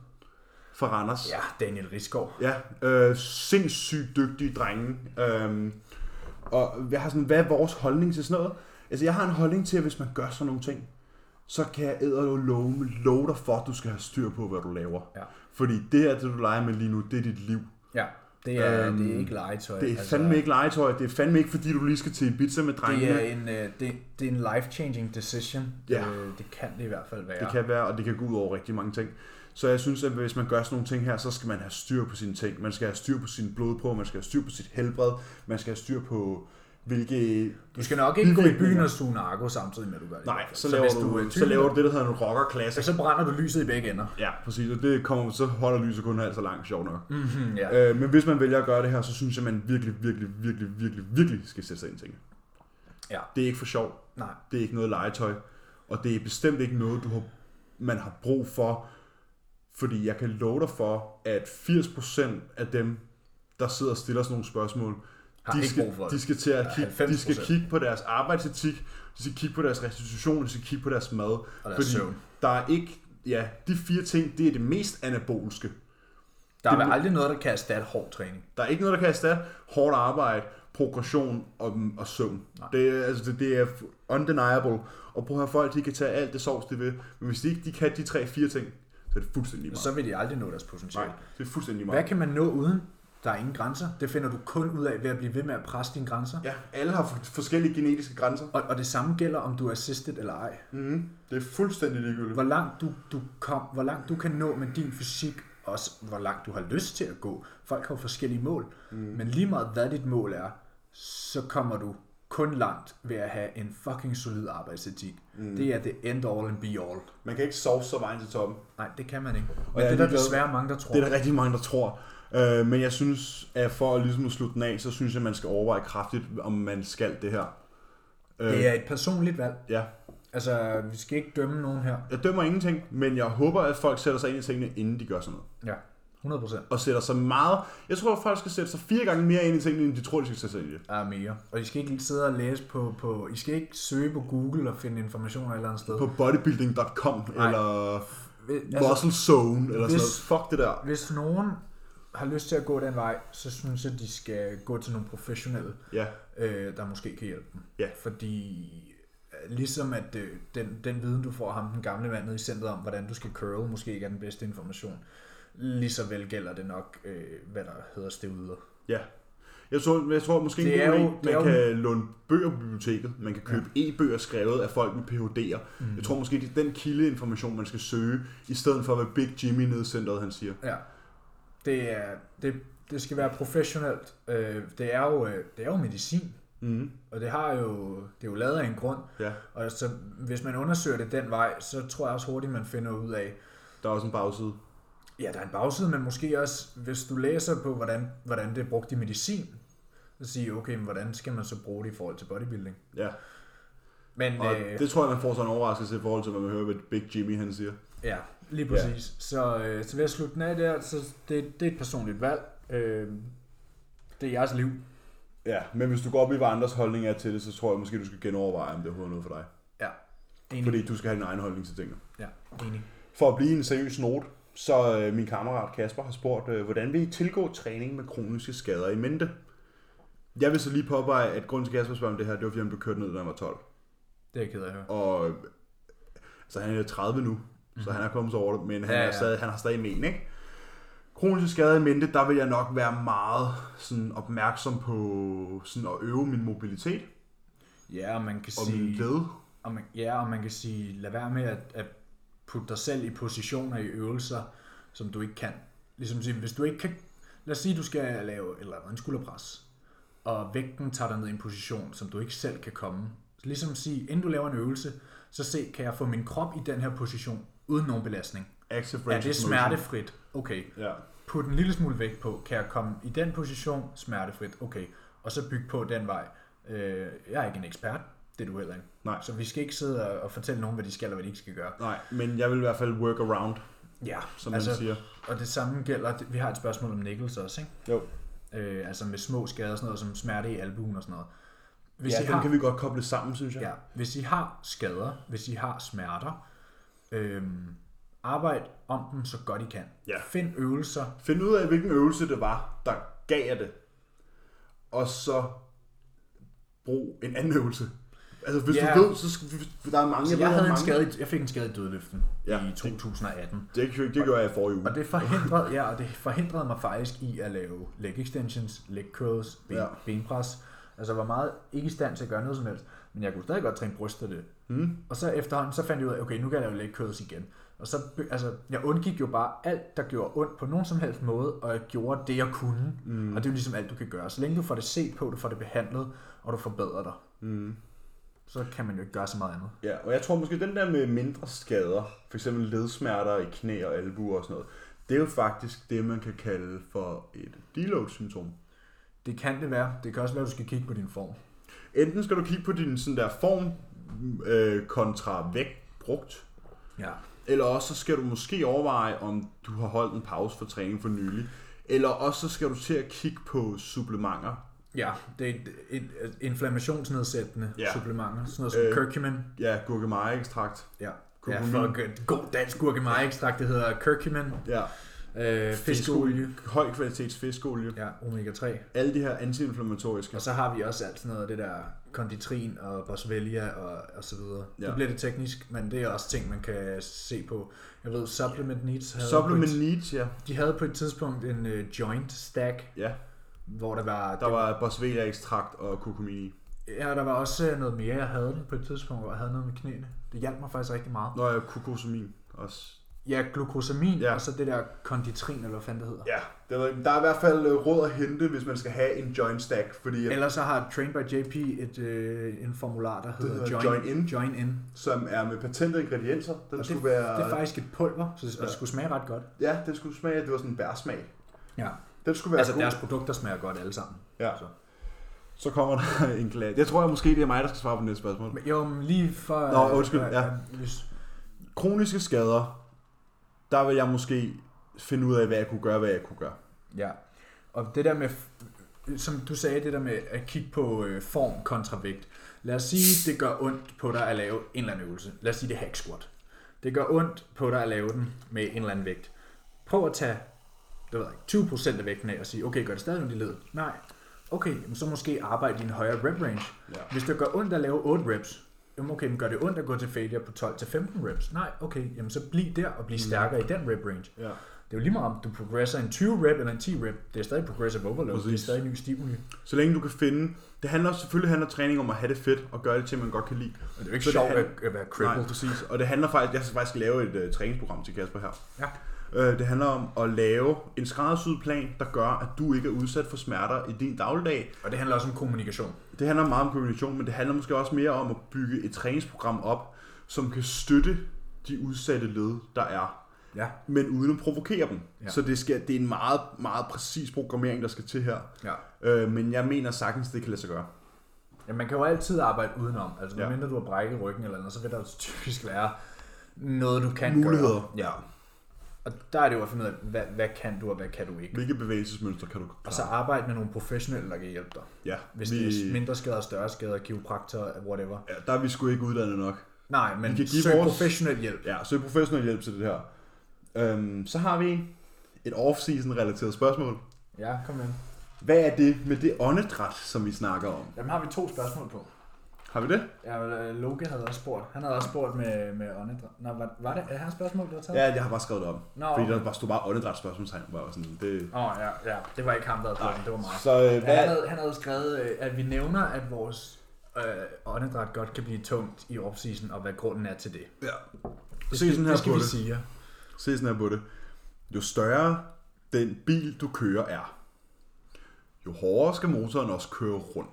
Speaker 1: fra Randers.
Speaker 2: Ja, Daniel Riskov.
Speaker 1: Ja, øh, sindssygt dygtige drenge. Øhm, og jeg har sådan, hvad er vores holdning til sådan noget? Altså, jeg har en holdning til, at hvis man gør sådan nogle ting, så kan jeg æder love, love dig for, at du skal have styr på, hvad du laver.
Speaker 2: Ja.
Speaker 1: Fordi det her, det du leger med lige nu, det er dit liv.
Speaker 2: Ja, det er,
Speaker 1: Øhm,
Speaker 2: øhm, det er ikke legetøj. Altså,
Speaker 1: Det er fandme ikke legetøj. Det er fandme ikke, fordi du lige skal til Ibiza med drengene.
Speaker 2: Det er en, øh, det, det er en life-changing decision.
Speaker 1: Ja.
Speaker 2: Øh, det kan det i hvert fald være.
Speaker 1: Det kan være, og det kan gå ud over rigtig mange ting. Så jeg synes, at hvis man gør sådan nogle ting her, så skal man have styr på sine ting. Man skal have styr på sin blodprøve, man skal have styr på sit helbred, man skal have styr på hvilke...
Speaker 2: Du skal nok ikke gå i byen
Speaker 1: bivirkninger-
Speaker 2: og suge narko samtidig med, at du gør det.
Speaker 1: Nej, så laver,
Speaker 2: så,
Speaker 1: så du,
Speaker 2: hvis er
Speaker 1: du så
Speaker 2: typen,
Speaker 1: laver du det, der hedder en rockerklasse.
Speaker 2: så brænder du lyset i begge ender.
Speaker 1: Ja, præcis, og det kommer, så holder lyset kun halvt så langt, sjovt nok. Mm.
Speaker 2: Mm, ja.
Speaker 1: Øh, men hvis man vælger at gøre det her, så synes jeg, at man virkelig, virkelig, virkelig, virkelig, virkelig skal sætte sig ind i tingene.
Speaker 2: Ja.
Speaker 1: Det er ikke for sjovt.
Speaker 2: Nej.
Speaker 1: Det er ikke noget legetøj, og det er bestemt ikke noget, du har, man har brug for, fordi jeg kan love dig for, at 80% af dem, der sidder og stiller sådan nogle spørgsmål,
Speaker 2: Har
Speaker 1: de
Speaker 2: ikke
Speaker 1: skal,
Speaker 2: brug for det.
Speaker 1: de skal til at
Speaker 2: Ja,
Speaker 1: kigge, de skal
Speaker 2: 90%.
Speaker 1: kigge på deres arbejdsetik, de skal kigge på deres restitution, de skal kigge på deres mad. Og
Speaker 2: deres
Speaker 1: fordi
Speaker 2: søvn.
Speaker 1: der er ikke, ja, de fire ting, det er det mest anabolske.
Speaker 2: Der er vel aldrig noget, der kan erstatte hård træning.
Speaker 1: Der er ikke noget, der kan erstatte hårdt arbejde, progression og, og søvn. Det, er- altså, det, det er undeniable. Og prøv at høre, folk de kan tage alt det sovs, de vil. Men hvis de ikke de kan de tre fire ting, så er det fuldstændig lige meget.
Speaker 2: Så vil de aldrig nå deres potentiale.
Speaker 1: Nej, det er fuldstændig lige
Speaker 2: Hvad
Speaker 1: meget.
Speaker 2: kan man nå uden? Der er ingen grænser. Det finder du kun ud af ved at blive ved med at presse dine grænser.
Speaker 1: Ja, alle har f- forskellige genetiske grænser.
Speaker 2: Og, og det samme gælder, om du er assisted eller ej.
Speaker 1: Mm-hmm. Det er fuldstændig ligegyldigt.
Speaker 2: Hvor langt du, du, kom, hvor langt du kan nå med din fysik, også hvor langt du har lyst til at gå. Folk har jo forskellige mål. Mm. Men lige meget hvad dit mål er, så kommer du kun langt ved at have en fucking solid arbejdsetik. Mm. Det er the end all and be all.
Speaker 1: Man kan ikke sove så vejen til toppen.
Speaker 2: Nej, det kan man ikke.
Speaker 1: jeg er
Speaker 2: Men det er der
Speaker 1: ligeglad.
Speaker 2: desværre mange, der tror.
Speaker 1: Det er der rigtig mange, der tror. Øh, men jeg synes, at for at ligesom at slutte den af, så synes jeg, at man skal overveje kraftigt, om man skal det her. Øh,
Speaker 2: Det er et personligt valg.
Speaker 1: Ja.
Speaker 2: Altså, vi skal ikke dømme nogen her.
Speaker 1: Jeg dømmer ingenting, men jeg håber, at folk sætter sig ind i tingene, inden de gør sådan noget.
Speaker 2: Ja, 100 procent.
Speaker 1: Og sætter sig meget... Jeg tror, at folk skal sætte sig fire gange mere ind i tingene, end de tror, de skal sætte sig ind i det.
Speaker 2: er mere. Og I skal ikke sidde og læse på, på... I skal ikke søge på Google og finde informationer et eller andet sted.
Speaker 1: På bodybuilding.com,
Speaker 2: Nej.
Speaker 1: eller
Speaker 2: Hvis-
Speaker 1: altså, muscle zone, eller sådan
Speaker 2: hvis-
Speaker 1: noget. Fuck det der.
Speaker 2: Hvis nogen har lyst til at gå den vej, så synes jeg, de skal gå til nogle professionelle,
Speaker 1: Ja,
Speaker 2: øh, der måske kan hjælpe dem.
Speaker 1: Ja.
Speaker 2: Fordi øh, ligesom at øh, den, den viden, du får af ham, den gamle mand nede i centret om, hvordan du skal curl, måske ikke er den bedste information. Lige så vel gælder det nok, øh, hvad der hedder stevider.
Speaker 1: ja. Jeg tror, jeg tror måske
Speaker 2: Det
Speaker 1: ikke,
Speaker 2: er
Speaker 1: man,
Speaker 2: jo- det er
Speaker 1: man
Speaker 2: jo-
Speaker 1: kan låne bøger på biblioteket. Man kan købe ja. e-bøger skrevet af folk med PhD'er. Mm. Jeg tror måske, det er den kildeinformation, man skal søge, i stedet for, hvad Big Jimmy nede i centret, han siger.
Speaker 2: Ja. Det, er, det, det skal være professionelt. Øh, det, er jo, øh, det er jo medicin,
Speaker 1: Mm.
Speaker 2: og det, har jo, det er jo lavet af en grund.
Speaker 1: Ja,
Speaker 2: Og så, hvis man undersøger det den vej, så tror jeg også hurtigt, man finder ud af,
Speaker 1: der er også en bagside.
Speaker 2: ja, der er en bagside, men måske også, hvis du læser på, hvordan, hvordan det er brugt i medicin, så sige, okay, men hvordan skal man så bruge det i forhold til bodybuilding?
Speaker 1: Ja.
Speaker 2: Men
Speaker 1: Og
Speaker 2: øh,
Speaker 1: det tror jeg, man får sådan en overraskelse i forhold til, hvad man hører, hvad Big Jimmy han siger.
Speaker 2: Ja, lige præcis. Ja. Så, øh, så ved at slutte den af der, så det, det er et personligt valg. Øh, det er jeres liv.
Speaker 1: Ja, men hvis du går op i, hvad andres holdning er til det, så tror jeg måske, du skal genoverveje, om det overhovedet er noget for dig.
Speaker 2: Ja, enig.
Speaker 1: Fordi du skal have din egen holdning til tingene.
Speaker 2: Ja, enig.
Speaker 1: For at blive en seriøs note, så øh, min kammerat Kasper har spurgt, øh, hvordan vil I tilgå træning med kroniske skader i mente? Jeg vil så lige påpege, at grunden til at Kasper spørger om det her, det var fordi han blev kørt ned, da han var 12.
Speaker 2: Det er jeg ked af at høre.
Speaker 1: Og øh, så han er 30 nu, så han er kommet sig over det, men han,
Speaker 2: Ja,
Speaker 1: ja,
Speaker 2: ja.
Speaker 1: Er stadig, han har stadig men, ikke? Kroniske skader i mente, der vil jeg nok være meget sådan, opmærksom på sådan, at øve min mobilitet
Speaker 2: Ja, og man kan
Speaker 1: og mine
Speaker 2: sige...
Speaker 1: led.
Speaker 2: Og man, ja, og man kan sige, lad være med at, at putte dig selv i positioner i øvelser, som du ikke kan. Ligesom sige, hvis du ikke kan... Lad os sige, du skal lave et eller andet, en skulderpres, og vægten tager dig ned i en position, som du ikke selv kan komme. Så Ligesom sige, inden du laver en øvelse, så se, kan jeg få min krop i den her position, uden nogen belastning.
Speaker 1: Active
Speaker 2: Er
Speaker 1: range
Speaker 2: det
Speaker 1: of motion.
Speaker 2: smertefrit? Okay.
Speaker 1: Ja.
Speaker 2: Put en lille smule vægt på, kan jeg komme i den position, smertefrit? Okay. Og så bygge på den vej. Øh, jeg er ikke en ekspert, det er du heller ikke.
Speaker 1: Nej.
Speaker 2: Så vi skal ikke sidde og, og fortælle nogen, hvad de skal og hvad de ikke skal gøre.
Speaker 1: Nej, men jeg vil i hvert fald work around,
Speaker 2: Ja,
Speaker 1: som altså, man siger.
Speaker 2: Og det samme gælder, vi har et spørgsmål om nickels også, ikke?
Speaker 1: Jo.
Speaker 2: Øh, altså med små skader og sådan noget, som smerte i albuen og sådan noget. Hvis
Speaker 1: Hvis ja,
Speaker 2: I
Speaker 1: den
Speaker 2: har,
Speaker 1: kan vi godt koble sammen, synes jeg.
Speaker 2: ja, hvis I har skader, hvis I har smerter, øh, arbejd om dem så godt I kan.
Speaker 1: Ja.
Speaker 2: Find øvelser.
Speaker 1: Find ud af, hvilken øvelse det var, der gav jer det. Og så brug en anden øvelse. Altså, hvis
Speaker 2: Ja.
Speaker 1: yeah. du ved, så skal, der er mange,
Speaker 2: Så
Speaker 1: ved,
Speaker 2: jeg,
Speaker 1: der
Speaker 2: havde
Speaker 1: er
Speaker 2: en
Speaker 1: mange.
Speaker 2: skade, i- jeg fik en skade i dødløften
Speaker 1: Ja,
Speaker 2: i 2018.
Speaker 1: Det, gjorde- det gjorde jeg i forrige uge.
Speaker 2: Og det forhindrede, ja, og det forhindrede mig faktisk i at lave leg extensions, leg curls, ben,
Speaker 1: Ja.
Speaker 2: ja. benpres. Altså jeg var meget ikke i stand til at gøre noget som helst, men jeg kunne stadig godt træne bryst af det. Mm. Og så efterhånden, så fandt jeg ud af, okay, nu kan jeg lave leg curls igen. Og så, be- altså, jeg undgik jo bare alt, der gjorde ondt på nogen som helst måde, og jeg gjorde det, jeg kunne. Mm. Og det er jo ligesom alt, du kan gøre. Så længe du får det set på, du får det behandlet, og du forbedrer dig, mm. så kan man jo ikke gøre så meget andet.
Speaker 1: Ja, og jeg tror måske, den der med mindre skader, f.eks. ledsmerter i knæ og albuer og sådan noget, det er jo faktisk det, man kan kalde for et deload-symptom.
Speaker 2: Det kan det være. Det kan også være, at du skal kigge på din form.
Speaker 1: Enten skal du kigge på din sådan der form øh, kontra vægt brugt,
Speaker 2: Ja.
Speaker 1: Eller også så skal du måske overveje, om du har holdt en pause for træning for nylig. Eller også så skal du til at kigge på supplementer.
Speaker 2: Ja, det er et, et, et inflammationsnedsættende
Speaker 1: Ja.
Speaker 2: ja. supplementer. Sådan noget som øh,
Speaker 1: Øh,
Speaker 2: curcumin.
Speaker 1: Ja, gurkemejeekstrakt.
Speaker 2: Ja, ja
Speaker 1: kurkumin.
Speaker 2: fuck, et god dansk gurkemejeekstrakt, det hedder curcumin.
Speaker 1: Ja.
Speaker 2: Øh, fiskeolie.
Speaker 1: Høj kvalitets fiskolie. Ja.
Speaker 2: Ja, omega-3.
Speaker 1: Alle de her antiinflammatoriske.
Speaker 2: Og så har vi også alt sådan noget af det der konditrin og boswellia og, og så videre. Ja.
Speaker 1: Ja.
Speaker 2: Det bliver lidt teknisk, men det er også ting, man kan se på. Jeg ved, Supplement Needs havde,
Speaker 1: Supplement
Speaker 2: På
Speaker 1: needs, ja.
Speaker 2: et, de havde på et tidspunkt en uh, joint stack,
Speaker 1: ja.
Speaker 2: hvor der var...
Speaker 1: Der var boswellia ekstrakt og kurkumin i.
Speaker 2: Ja, der var også øh, noget mere, jeg havde den på et tidspunkt, hvor jeg havde noget med knæene. Det hjalp mig faktisk rigtig meget.
Speaker 1: Nå ja, kokosamin også.
Speaker 2: Ja, glukosamin, ja.
Speaker 1: Ja.
Speaker 2: og så det der konditrin, eller hvad fanden det hedder.
Speaker 1: Ja, det ved jeg ikke. der er i hvert fald øh, råd at hente, hvis man skal have en joint stack, fordi
Speaker 2: Ja. Ellers så har Train by JP et, øh, en formular, der hedder,
Speaker 1: hedder
Speaker 2: join,
Speaker 1: Join In.
Speaker 2: Join in.
Speaker 1: som er med patentede ingredienser. Den
Speaker 2: Og det,
Speaker 1: skulle være,
Speaker 2: det er faktisk et pulver, så det, og det
Speaker 1: Ja.
Speaker 2: skulle smage ret godt.
Speaker 1: ja, den skulle smage, det var sådan en bærsmag.
Speaker 2: Ja.
Speaker 1: Den skulle være
Speaker 2: Altså,
Speaker 1: god.
Speaker 2: deres produkter smager godt alle sammen.
Speaker 1: Ja.
Speaker 2: Så.
Speaker 1: Så kommer der en glas. Jeg tror jeg måske, det er mig, der skal svare på det næste spørgsmål.
Speaker 2: Men, jo, men lige for... øh,
Speaker 1: Nå, undskyld, ja.
Speaker 2: hvis-
Speaker 1: Kroniske skader, der vil jeg måske finde ud af, hvad jeg kunne gøre, hvad jeg ikke kunne gøre.
Speaker 2: Ja, og det der med, som du sagde, det der med at kigge på øh, form kontra vægt. Lad os sige, det gør ondt på dig at lave en eller anden øvelse. Lad os sige, det er hack squat. Det gør ondt på dig at lave den med en eller anden vægt. Prøv at tage det ved jeg ikke, 20% af vægten af og sige, okay, gør det stadig ondt i ledet? Nej. Okay, jamen så måske arbejde i en højere rep range.
Speaker 1: Ja.
Speaker 2: Hvis det gør ondt at lave 8 reps, jamen okay, men gør det ondt at gå til failure på 12-15 reps? Nej, okay, jamen så bliv der og bliv stærkere i den rep range.
Speaker 1: Ja.
Speaker 2: Det er jo lige meget om du progresser en 20 rep eller en 10 rep, det er stadig progressive overload, Præcis. det er
Speaker 1: Præcis.
Speaker 2: stadig ny stimuli.
Speaker 1: Så længe du kan finde... Det handler selvfølgelig handler træning om at have det fedt og gøre det til, man godt kan lide.
Speaker 2: Og det er jo ikke
Speaker 1: Så
Speaker 2: så
Speaker 1: det
Speaker 2: sjovt
Speaker 1: han-
Speaker 2: at, at være
Speaker 1: Nej,
Speaker 2: crippled.
Speaker 1: præcis. Og det handler faktisk... Jeg skal faktisk lave et uh, træningsprogram til Kasper her.
Speaker 2: Ja.
Speaker 1: Øh, Det handler om at lave en skræddersyet plan, der gør, at du ikke er udsat for smerter i din dagligdag.
Speaker 2: Og det handler også om kommunikation.
Speaker 1: Det handler meget om kommunikation, men det handler måske også mere om at bygge et træningsprogram op, som kan støtte de udsatte led, der er,
Speaker 2: Ja,
Speaker 1: men uden at provokere dem.
Speaker 2: Ja.
Speaker 1: Ja. Så det, skal, det er en meget, meget præcis programmering, der skal til her.
Speaker 2: ja.
Speaker 1: Øh, men jeg mener sagtens, det kan lade sig gøre.
Speaker 2: ja man kan jo altid arbejde udenom. Altså,
Speaker 1: Ja.
Speaker 2: medmindre du har brækket ryggen eller noget, så vil der jo typisk være noget, du kan
Speaker 1: Muligheder.
Speaker 2: gøre. Ja. Og der er det jo at finde ud af, hvad, hvad kan du og hvad kan du ikke.
Speaker 1: Hvilke bevægelsesmønstre kan du
Speaker 2: Og så arbejde med nogle professionelle, der kan hjælpe dig.
Speaker 1: Ja,
Speaker 2: Altså, Hvis
Speaker 1: vi,
Speaker 2: det er mindre skader, større skader, kiropraktor, whatever.
Speaker 1: ja, der er vi sgu ikke uddannet nok.
Speaker 2: Nej, men
Speaker 1: Vi kan give
Speaker 2: søg
Speaker 1: vores-
Speaker 2: professionel hjælp.
Speaker 1: Ja, søg professionel hjælp til det her. Øhm, så har vi en- et off-season-relateret spørgsmål.
Speaker 2: Ja, kom med.
Speaker 1: Hvad er det med det åndedræt, som vi snakker om?
Speaker 2: Dem har vi to spørgsmål på.
Speaker 1: Har vi det?
Speaker 2: Ja, øh, Loke havde også spurgt. Han havde også spurgt med, med åndedræt. Nå, var, var det, er det hans spørgsmål, du har taget?
Speaker 1: Ja, jeg har bare skrevet det om.
Speaker 2: Nå,
Speaker 1: Fordi
Speaker 2: okay.
Speaker 1: der bare stod bare åndedræt spørgsmålstegn. Hvor jeg var sådan, det...
Speaker 2: Åh, oh, ja, ja. Det var ikke ham, der havde spurgt, det var mig.
Speaker 1: Så øh,
Speaker 2: Ja, han,
Speaker 1: hvad...
Speaker 2: havde, han havde skrevet, øh, at vi nævner, at vores øh, åndedræt godt kan blive tungt i opsisen, og hvad grunden er til det.
Speaker 1: Ja.
Speaker 2: Det
Speaker 1: Se
Speaker 2: skal,
Speaker 1: sådan her
Speaker 2: det skal
Speaker 1: på
Speaker 2: vi
Speaker 1: det.
Speaker 2: sige.
Speaker 1: Se sådan her på det. Jo større den bil, du kører, er, jo hårdere skal motoren også køre rundt.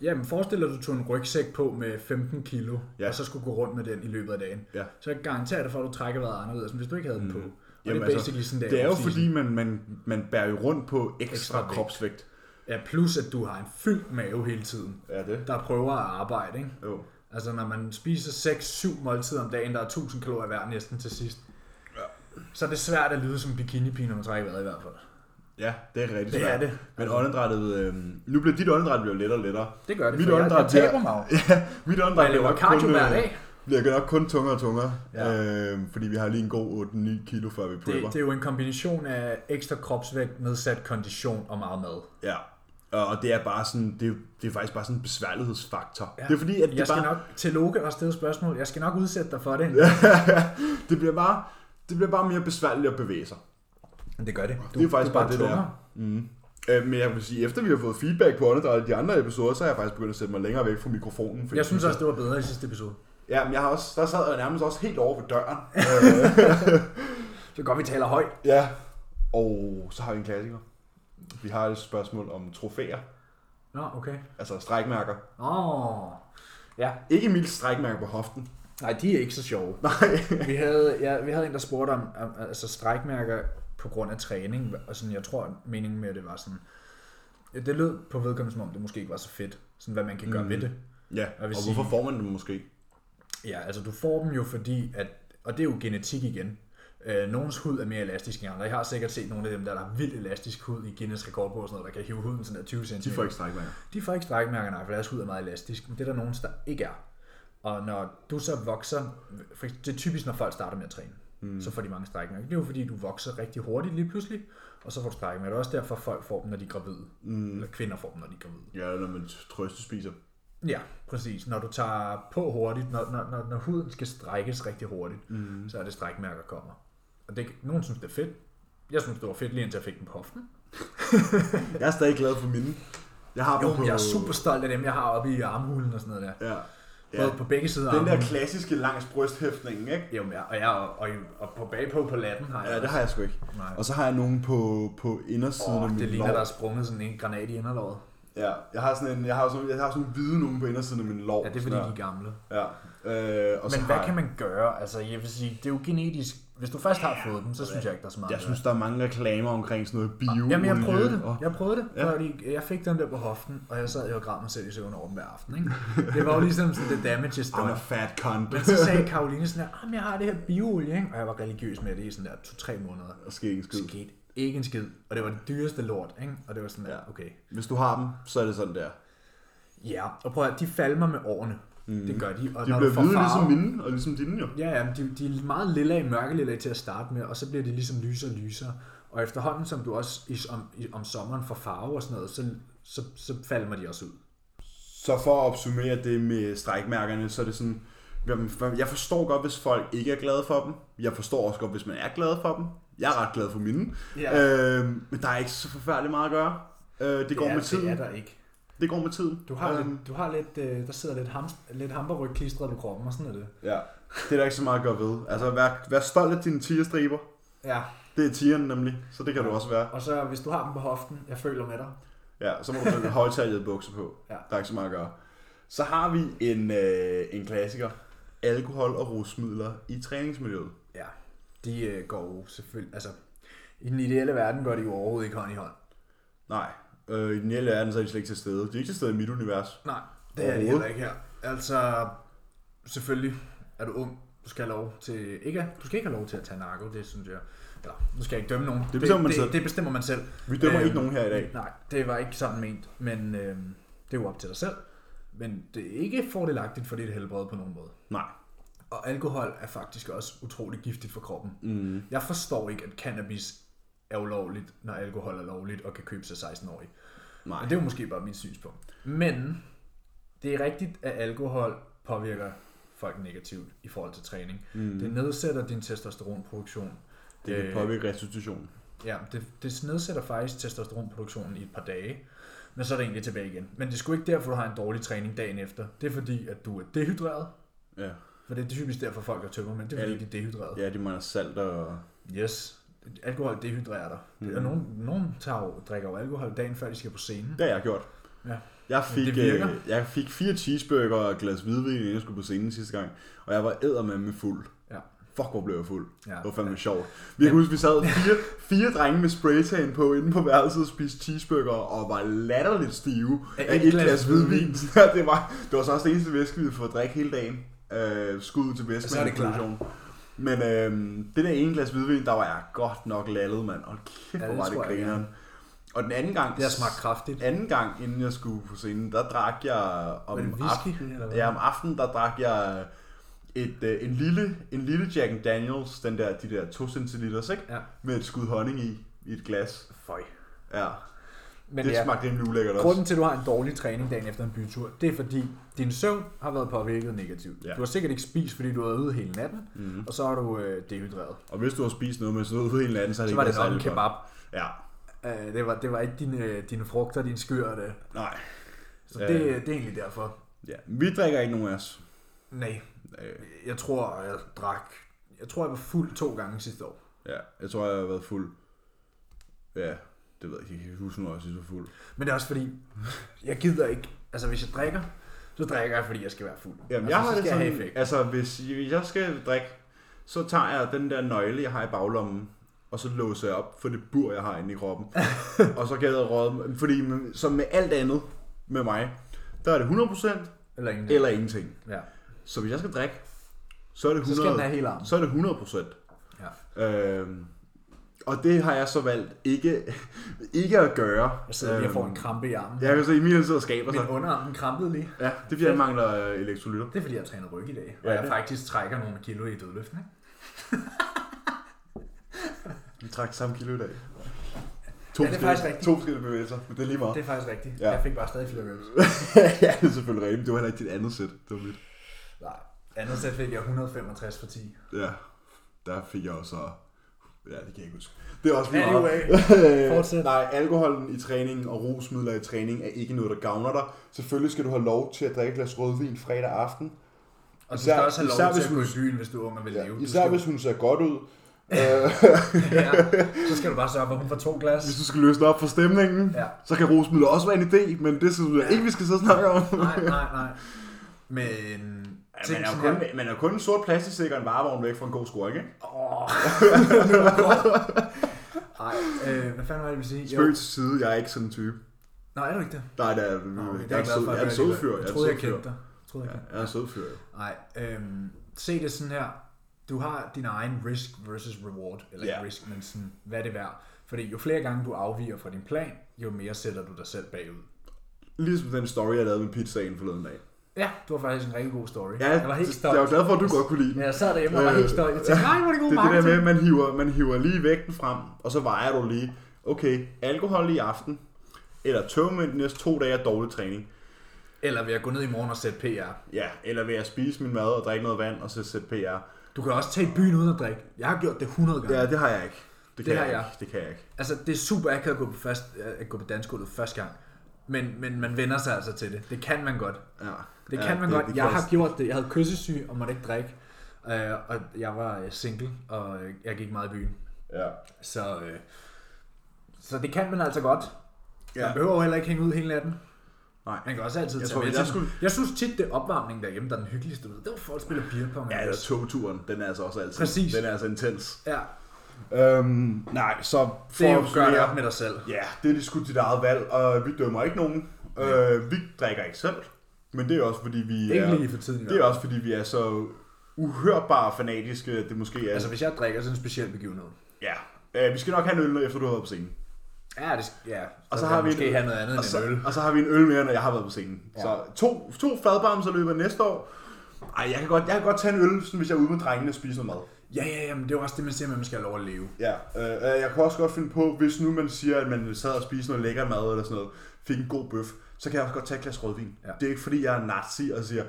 Speaker 2: Jamen, forestil dig, at du tog en rygsæk på med 15 kilo, ja.
Speaker 1: Ja.
Speaker 2: og så skulle gå rundt med den i løbet af dagen.
Speaker 1: Ja.
Speaker 2: Så jeg garanterer dig for, at du trækker vejret anderledes, end hvis du ikke havde den på. Og
Speaker 1: Jamen,
Speaker 2: det er
Speaker 1: altså,
Speaker 2: basically sådan,
Speaker 1: Det er jo
Speaker 2: off-season.
Speaker 1: fordi, man, man, man bærer jo rundt på ekstra,
Speaker 2: Ekstra
Speaker 1: ekstra
Speaker 2: vægt.
Speaker 1: kropsvægt.
Speaker 2: Ja, plus at du har en fyldt mave hele tiden,
Speaker 1: Ja, det.
Speaker 2: der prøver at arbejde, ikke?
Speaker 1: Jo.
Speaker 2: Altså når man spiser 6-7 måltider om dagen, der er 1000 kalorier hver næsten til sidst. Ja. Så er det svært at lyde som en bikinipige, når man trækker vejret i hvert fald.
Speaker 1: Ja, det er rigtig
Speaker 2: Det
Speaker 1: svært.
Speaker 2: er det.
Speaker 1: Men åndedrættet... Øh, nu bliver dit åndedræt bliver lettere og lettere.
Speaker 2: Det gør det,
Speaker 1: Mit
Speaker 2: for jeg,
Speaker 1: åndedræt,
Speaker 2: jeg taber
Speaker 1: det
Speaker 2: mig jo.
Speaker 1: Ja, mit
Speaker 2: Og
Speaker 1: åndedræt
Speaker 2: jeg laver
Speaker 1: nok
Speaker 2: cardio
Speaker 1: kun, øh,
Speaker 2: hver dag.
Speaker 1: bliver nok kun tungere og tungere.
Speaker 2: Ja.
Speaker 1: Ja. Øh, fordi vi har lige en god 8-9 kilo, før vi
Speaker 2: Det,
Speaker 1: prøver.
Speaker 2: det er jo en kombination af ekstra kropsvægt, nedsat kondition og meget mad.
Speaker 1: Ja. Og og det er bare sådan, det er, det er faktisk bare sådan en besværlighedsfaktor.
Speaker 2: Ja.
Speaker 1: Ja. Det er fordi, at
Speaker 2: Jeg
Speaker 1: det,
Speaker 2: skal
Speaker 1: bare,
Speaker 2: nok, til Loke og stillet spørgsmål, jeg skal nok udsætte dig for det.
Speaker 1: det, bliver bare, det bliver bare mere besværligt at bevæge sig.
Speaker 2: Men det gør det.
Speaker 1: det er faktisk
Speaker 2: du er
Speaker 1: bare det, der
Speaker 2: tungere.
Speaker 1: er. Mm. Øh, men jeg vil sige, efter vi har fået feedback på åndedræt i de andre episoder, så har jeg faktisk begyndt at sætte mig længere væk fra mikrofonen. fordi-
Speaker 2: Jeg synes også, det var bedre i sidste episode.
Speaker 1: Ja, men jeg har også, der sad jeg nærmest også helt over ved døren.
Speaker 2: Så kan godt, vi taler højt.
Speaker 1: ja. Og så har vi en klassiker. Vi har et spørgsmål om trofæer.
Speaker 2: Nå, okay.
Speaker 1: Altså strækmærker.
Speaker 2: Åh. Ja,
Speaker 1: Ikke Emils strækmærker på hoften.
Speaker 2: Nej, de er ikke så sjove.
Speaker 1: Nej.
Speaker 2: vi, havde, ja, vi havde en, der spurgte om, om altså strækmærker på grund af træning, og sådan, jeg tror, meningen med det var sådan, ja, det lød på vedkommende, som om det måske ikke var så fedt, sådan, hvad man kan gøre mm. ved det.
Speaker 1: Ja,
Speaker 2: Jeg vil
Speaker 1: og
Speaker 2: sige-
Speaker 1: hvorfor får man dem måske?
Speaker 2: Ja, altså du får dem jo fordi, at, og det er jo genetik igen, øh, nogens hud er mere elastisk end andre. Jeg har sikkert set nogle af dem, der, der har vildt elastisk hud i Guinness rekordbog, og sådan noget, der kan hive huden sådan der 20 cm.
Speaker 1: De får ikke strækmærker.
Speaker 2: De får ikke strækmærker, nej, for deres hud er meget elastisk, men det er der nogen, der ikke er. Og når du så vokser, for det er typisk, når folk starter med at træne, mm. så får de mange strækmærker. Det er jo fordi, du vokser rigtig hurtigt lige pludselig, og så får du strækmærker. Det er også derfor, folk får dem, når de er gravide. Mm. Eller kvinder får dem, når de er gravide.
Speaker 1: Ja, når man trøstespiser.
Speaker 2: Ja, præcis. Når du tager på hurtigt, når, når, når, når huden skal strækkes rigtig hurtigt, mm. så er det strækmærker, der kommer. Og det, nogen synes, det er fedt. Jeg synes, det var fedt, lige indtil jeg fik den på hoften.
Speaker 1: Jeg er stadig glad for mine. Jeg har
Speaker 2: Jo,
Speaker 1: dem på...
Speaker 2: men jeg er super stolt af dem, jeg har oppe i armhulen og sådan noget der.
Speaker 1: Ja. ja.
Speaker 2: Både på begge sider af
Speaker 1: Den der
Speaker 2: armhulen.
Speaker 1: klassiske langs brysthæftningen, ikke?
Speaker 2: Jo, men jeg, og, jeg, og, og, og på bagpå på latten har jeg
Speaker 1: Ja, det har jeg sgu ikke.
Speaker 2: altså- Nej.
Speaker 1: Og så har jeg nogen på, på indersiden af
Speaker 2: Oh,
Speaker 1: min
Speaker 2: det ligner,
Speaker 1: lår.
Speaker 2: der er sprunget sådan en granat i inderlåret.
Speaker 1: Ja, jeg har sådan en, jeg har sådan, jeg har sådan en hvide nogen på indersiden af min lår.
Speaker 2: Ja, det er fordi,
Speaker 1: Sådan
Speaker 2: de er gamle.
Speaker 1: her. Ja. Øh, og så
Speaker 2: Men
Speaker 1: har
Speaker 2: hvad
Speaker 1: jeg-
Speaker 2: kan man gøre? Altså, jeg vil sige, det er jo genetisk. Hvis du først har fået dem, så synes jeg ikke, der er så meget.
Speaker 1: Jeg
Speaker 2: at
Speaker 1: synes, der er mange reklamer omkring sådan noget bio.
Speaker 2: Jamen, jeg prøvede det.
Speaker 1: Og,
Speaker 2: Jeg prøvede det,
Speaker 1: Ja.
Speaker 2: ja. fordi jeg fik den der på hoften, og jeg sad jo og græd mig selv i søvn over den hver aften. Ikke? Det var jo ligesom sådan, the damage is
Speaker 1: I'm
Speaker 2: done.
Speaker 1: a fat cunt.
Speaker 2: Men så sagde Karoline sådan her, "Jamen, jeg har det her bioolie, ikke? og jeg var religiøs med det i sådan der to-tre måneder.
Speaker 1: Og sker ikke en skid.
Speaker 2: Skete ikke en skid, og det var det dyreste lort, ikke? og det var sådan der, okay.
Speaker 1: Hvis du har dem, så er det sådan der.
Speaker 2: Ja, og prøv at høre, de falmer med årene. Mm. Det gør de. Og
Speaker 1: De
Speaker 2: når
Speaker 1: bliver
Speaker 2: du får
Speaker 1: hvide
Speaker 2: farve,
Speaker 1: ligesom mine, og ligesom dine jo.
Speaker 2: Ja, ja, men de, de er meget lilla i mørkelilla til at starte med, og så bliver de ligesom lysere og lysere. Og efterhånden, som du også i, om, i, om sommeren får farve og sådan noget, så, så, så falmer de også ud.
Speaker 1: Så for at opsummere det med strækmærkerne, så er det sådan, jamen, for- jeg forstår godt, hvis folk ikke er glade for dem. Jeg forstår også godt, hvis man er glad for dem. Jeg er ret glad for mine.
Speaker 2: Ja.
Speaker 1: Øh, men der er ikke så forfærdeligt meget at gøre. Øh, det går
Speaker 2: ja,
Speaker 1: med tiden.
Speaker 2: Det er
Speaker 1: Det,
Speaker 2: der ikke.
Speaker 1: det går med tiden.
Speaker 2: Du har,
Speaker 1: Øhm,
Speaker 2: lidt, du har lidt, øh, der sidder lidt, ham, lidt hamperryg klistret på kroppen og sådan noget.
Speaker 1: Ja, det er der ikke så meget at gøre ved. Altså, vær, vær stolt af dine tigerstriber.
Speaker 2: Ja,
Speaker 1: Det er tieren nemlig, så det kan du også være.
Speaker 2: og så hvis du har dem på hoften, jeg føler med dig.
Speaker 1: Ja, så må du have højtaljede bukser på.
Speaker 2: Ja.
Speaker 1: Der er ikke så meget at gøre. Så har vi en, øh, en klassiker. Alkohol og rusmidler i træningsmiljøet.
Speaker 2: Ja, de øh, går jo selvfølgelig, altså i den ideelle verden går de jo overhovedet ikke hånd i hånd.
Speaker 1: Nej, øh, i den hele verden så er de slet ikke til stede. De er ikke til stede i mit univers.
Speaker 2: Nej, det er
Speaker 1: Overhovedet.
Speaker 2: det heller ikke her. Altså, selvfølgelig er du ung. Du skal have lov til ikke, at- du skal ikke have lov til at tage narko, det synes jeg. Eller, nu skal jeg ikke dømme nogen. Det
Speaker 1: bestemmer man
Speaker 2: det,
Speaker 1: selv.
Speaker 2: Det, det bestemmer man selv.
Speaker 1: Vi dømmer
Speaker 2: Øhm,
Speaker 1: ikke nogen her i dag.
Speaker 2: Nej, det var ikke sådan ment, men øh, det er jo op til dig selv. Men det er ikke fordelagtigt for dit helbred på nogen måde.
Speaker 1: Nej.
Speaker 2: Og alkohol er faktisk også utroligt giftigt for kroppen.
Speaker 1: Mm.
Speaker 2: Jeg forstår ikke, at cannabis er ulovligt, når alkohol er lovligt og kan købes af 16-årige.
Speaker 1: Nej.
Speaker 2: Og det er jo måske bare mit synspunkt. Men det er rigtigt, at alkohol påvirker folk negativt i forhold til træning. Mm. Det øh, nedsætter din testosteronproduktion.
Speaker 1: Det kan påvirke restitutionen.
Speaker 2: Ja, det, det nedsætter faktisk testosteronproduktionen i et par dage, men så er det egentlig tilbage igen. Men det er sgu ikke derfor, du har en dårlig træning dagen efter. Det er fordi, at du er dehydreret.
Speaker 1: Ja.
Speaker 2: For det er typisk derfor, folk er tømmer, men det er fordi, de er dehydreret.
Speaker 1: Ja, de mangler salt og...
Speaker 2: Yes. Alkohol dehydrerer dig. Mm. Og nogen, nogen tager jo, drikker jo alkohol dagen før, de skal på scenen.
Speaker 1: Det har jeg gjort.
Speaker 2: Ja.
Speaker 1: Jeg fik,
Speaker 2: Det virker.
Speaker 1: øh, jeg fik fire cheeseburger og et glas hvidvin, inden jeg skulle på scenen sidste gang. Og jeg var eddermame fuld.
Speaker 2: Ja.
Speaker 1: Fuck, hvor blev jeg fuld.
Speaker 2: Ja.
Speaker 1: Det var fandme sjovt. Vi kan huske, vi sad fire, fire drenge med spraytan på inde på værelset og spiste cheeseburger og var latterligt stive af, et, glas, hvidvin. Ja, det, var, det var så også det eneste væske, vi havde fået at drikke hele dagen. Øh, skud til væsken.
Speaker 2: Så er det klart.
Speaker 1: Men øh, det der ene glas hvidvin, der var jeg godt nok lallet, mand. Hold kæft,
Speaker 2: Ja,
Speaker 1: hvor
Speaker 2: det
Speaker 1: var det
Speaker 2: tror jeg, ja.
Speaker 1: grineren. Og den anden gang...
Speaker 2: Det har smagt kraftigt.
Speaker 1: Anden gang, inden jeg skulle på scenen, der drak jeg om
Speaker 2: Var det whisky, eller
Speaker 1: aftenen,
Speaker 2: hvad?
Speaker 1: ja, om aftenen, der drak jeg et, øh, en, lille, en lille Jack Daniels, den der, de der 2 centiliters, ikke?
Speaker 2: Ja.
Speaker 1: Med et skud honning i, i et glas.
Speaker 2: Føj.
Speaker 1: Ja,
Speaker 2: Men
Speaker 1: det
Speaker 2: ja,
Speaker 1: smagte rimelig ulækkert også.
Speaker 2: grunden til, at du har en dårlig træning dagen efter en bytur, det er fordi, din søvn har været påvirket negativt.
Speaker 1: Ja.
Speaker 2: Ja. Du har sikkert ikke spist, fordi du har været ude hele natten, mm. og så er du øh, dehydreret.
Speaker 1: Mhm. Og hvis du har spist noget med sådan noget ude hele natten, så er det
Speaker 2: Så
Speaker 1: ikke
Speaker 2: var
Speaker 1: været
Speaker 2: det nok en
Speaker 1: særlig godt.
Speaker 2: kebab.
Speaker 1: Ja,
Speaker 2: Øh, det, var, det var ikke dine, øh, dine frugter, dine skyer. Det.
Speaker 1: nej.
Speaker 2: Så
Speaker 1: Ja.
Speaker 2: det, det er egentlig derfor.
Speaker 1: Ja. Vi drikker ikke nogen af os.
Speaker 2: Nej,
Speaker 1: Øh,
Speaker 2: jeg tror, jeg drak... Jeg tror, jeg var fuld to gange sidste år.
Speaker 1: Ja, jeg tror, jeg har været fuld. Ja, det ved jeg ikke. Jeg kan ikke huske, når jeg sidst var fuld.
Speaker 2: Men det er også fordi, jeg gider ikke. Altså, hvis jeg drikker, så drikker jeg, fordi jeg skal være fuld.
Speaker 1: Jamen,
Speaker 2: altså,
Speaker 1: jeg har
Speaker 2: så
Speaker 1: det
Speaker 2: skal jeg
Speaker 1: sådan,
Speaker 2: have effekt.
Speaker 1: altså hvis hvis jeg skal drikke, så tager jeg den der nøgle, jeg har i baglommen, og så låser jeg op for det bur, jeg har inde i kroppen. og så kan jeg råde, fordi med- som med alt andet med mig, der er det 100%
Speaker 2: Eller ingen.
Speaker 1: eller ingenting.
Speaker 2: Ja.
Speaker 1: Så hvis jeg skal drikke, så er det 100%.
Speaker 2: Så skal den have hele armen.
Speaker 1: så er det 100%.
Speaker 2: Ja.
Speaker 1: Øhm, og det har jeg så valgt ikke, ikke at gøre. Øhm,
Speaker 2: Jeg sidder lige og får en krampe i armen.
Speaker 1: Jeg kan se, Emil sidder og skaber sig.
Speaker 2: Min underarm krampede lige.
Speaker 1: Ja, det er fordi, jeg mangler øh, elektrolytter.
Speaker 2: Det er fordi, jeg har trænet ryg i dag. Og
Speaker 1: Ja,
Speaker 2: jeg
Speaker 1: det-
Speaker 2: faktisk trækker nogle kilo i dødløften. Ikke?
Speaker 1: Vi trak samme kilo i dag. To,
Speaker 2: Ja, det er
Speaker 1: forskellige-
Speaker 2: faktisk rigtigt.
Speaker 1: to forskellige bevægelser, men det er lige meget.
Speaker 2: Det er faktisk rigtigt.
Speaker 1: Ja.
Speaker 2: Ja. Jeg fik bare stadig flere øvelser.
Speaker 1: ja, det er selvfølgelig rigtigt. Det var heller ikke dit andet sæt. Det var mit.
Speaker 2: Nej. Andet sæt fik jeg 165 for 10.
Speaker 1: Ja, der fik jeg også... Ja, det kan jeg ikke huske. Det er også lige
Speaker 2: Anyway,
Speaker 1: meget.
Speaker 2: fortsæt.
Speaker 1: Nej, alkoholen i træningen og rusmidler i træning er ikke noget, der gavner dig. Selvfølgelig skal du have lov til at drikke et glas rødvin fredag aften.
Speaker 2: Og du
Speaker 1: Især-
Speaker 2: skal også have lov
Speaker 1: især
Speaker 2: til
Speaker 1: hvis
Speaker 2: at gå
Speaker 1: du-
Speaker 2: i byen, hvis du er ung og vil
Speaker 1: Ja,
Speaker 2: leve. Du
Speaker 1: især
Speaker 2: skal,
Speaker 1: hvis hun ser godt ud. Øh,
Speaker 2: ja, så skal du bare sørge for, at hun får to glas.
Speaker 1: hvis du skal løsne op for stemningen,
Speaker 2: Ja.
Speaker 1: så kan rusmidler også være en idé, men det synes jeg ikke, vi skal så snakke om.
Speaker 2: Nej, nej, nej. Men... Ja,
Speaker 1: Man er, jo kun, man er jo kun en sort plastikstikker en varevogn væk fra en god scoring, ikke?
Speaker 2: Åh. Nej, øh, hvad fanden var det, jeg ville sige? Jo.
Speaker 1: Spøg til side, jeg er ikke sådan en type.
Speaker 2: Nej, er du ikke det?
Speaker 1: Nej, det er, jeg,
Speaker 2: Nå, det er
Speaker 1: jeg, er,
Speaker 2: jeg glad
Speaker 1: sød-
Speaker 2: for,
Speaker 1: jeg er
Speaker 2: at
Speaker 1: en sød fyr.
Speaker 2: Jeg
Speaker 1: er en
Speaker 2: troede,
Speaker 1: sød
Speaker 2: jeg
Speaker 1: fyr.
Speaker 2: kendte dig. Jeg troede, jeg kendte
Speaker 1: Ja, jeg er en sød fyr.
Speaker 2: dig. Nej, øhm, se det sådan her. Du har din egen risk versus reward. Eller
Speaker 1: Ja.
Speaker 2: ikke risk, men sådan, hvad er det værd? Fordi jo flere gange du afviger fra din plan, jo mere sætter du dig selv bagud.
Speaker 1: Ligesom den story, jeg lavede med pizzaen forleden dag.
Speaker 2: Ja, du har faktisk en rigtig god story.
Speaker 1: Ja,
Speaker 2: jeg var helt
Speaker 1: jeg
Speaker 2: stolt.
Speaker 1: er jo glad for, at du godt kunne lide den.
Speaker 2: Men jeg sad derhjemme og var
Speaker 1: Øh,
Speaker 2: helt stolt. Jeg tænkte, nej, hvor er det god
Speaker 1: Det er det der med,
Speaker 2: marketing.
Speaker 1: at man hiver, man hiver lige vægten frem, og så vejer du lige, okay, alkohol i aften, eller tog med de næste to dage af dårlig træning.
Speaker 2: Eller ved at gå ned i morgen og sætte PR.
Speaker 1: Ja, eller ved at spise min mad og drikke noget vand, og så sætte PR.
Speaker 2: Du kan også tage i byen uden at drikke. Jeg har gjort det 100 gange.
Speaker 1: Ja, det har jeg ikke. Det kan
Speaker 2: har
Speaker 1: jeg,
Speaker 2: jeg.
Speaker 1: ikke. Det kan jeg ikke.
Speaker 2: Altså, det er super akavet at gå på, fast, at gå på danskullet første gang. Men, men man vender sig altså til det. Det kan man godt.
Speaker 1: Ja.
Speaker 2: Det
Speaker 1: ja,
Speaker 2: kan man godt.
Speaker 1: det
Speaker 2: jeg
Speaker 1: kan
Speaker 2: har
Speaker 1: også-
Speaker 2: gjort det. Jeg havde kyssesyge og måtte ikke drikke. Øh, og jeg var øh, single, og øh, jeg gik meget i byen.
Speaker 1: Ja.
Speaker 2: Så, øh, så det kan man altså godt. Ja. Man
Speaker 1: Ja.
Speaker 2: behøver heller ikke hænge ud hele natten.
Speaker 1: Nej.
Speaker 2: Man kan også altid
Speaker 1: Jeg
Speaker 2: tage
Speaker 1: tror,
Speaker 2: med
Speaker 1: jeg
Speaker 2: til den.
Speaker 1: skulle-
Speaker 2: jeg synes tit, det er opvarmningen derhjemme, der er den hyggeligste. du ved. Det var folk, der spiller beer pong.
Speaker 1: Ja,
Speaker 2: og-
Speaker 1: eller togturen, den er altså også altid.
Speaker 2: Præcis.
Speaker 1: Den er altså intens.
Speaker 2: ja,
Speaker 1: Øhm, nej, så for
Speaker 2: det
Speaker 1: at
Speaker 2: er jo gør det
Speaker 1: opsummere-
Speaker 2: op med dig selv.
Speaker 1: Ja, det er lige sgu dit eget valg, og vi dømmer ikke nogen. Øh, vi drikker ikke selv, men det er også fordi vi
Speaker 2: Ikke
Speaker 1: er,
Speaker 2: lige for tiden i hvert
Speaker 1: det er også fordi vi er så uhørbare fanatiske, at det måske er...
Speaker 2: Altså, hvis jeg drikker, så er det en speciel begivenhed.
Speaker 1: ja. Øh, vi skal nok have en øl, når efter du har været på scenen.
Speaker 2: Ja, det, sk- ja.
Speaker 1: Og så,
Speaker 2: kan
Speaker 1: har
Speaker 2: jeg
Speaker 1: vi
Speaker 2: måske
Speaker 1: en,
Speaker 2: have noget andet
Speaker 1: og
Speaker 2: end
Speaker 1: så,
Speaker 2: en øl.
Speaker 1: Og så har vi en øl mere, når jeg har været på scenen.
Speaker 2: Ja.
Speaker 1: Ja. Så to, to fadbamser løber næste år. Ej, jeg kan godt, jeg kan godt tage en øl, sådan, hvis jeg er ude med drengene og spiser noget mad.
Speaker 2: Ja, ja, ja, men det er jo også det, man siger, at man skal have lov at leve.
Speaker 1: Ja, øh, øh, jeg kunne også godt finde på, hvis nu man siger, at man sad og spiste noget lækker mad eller sådan noget, fik en god bøf, så kan jeg også godt tage et glas rødvin.
Speaker 2: Ja.
Speaker 1: Ja. Det er ikke fordi, jeg er nazi og siger,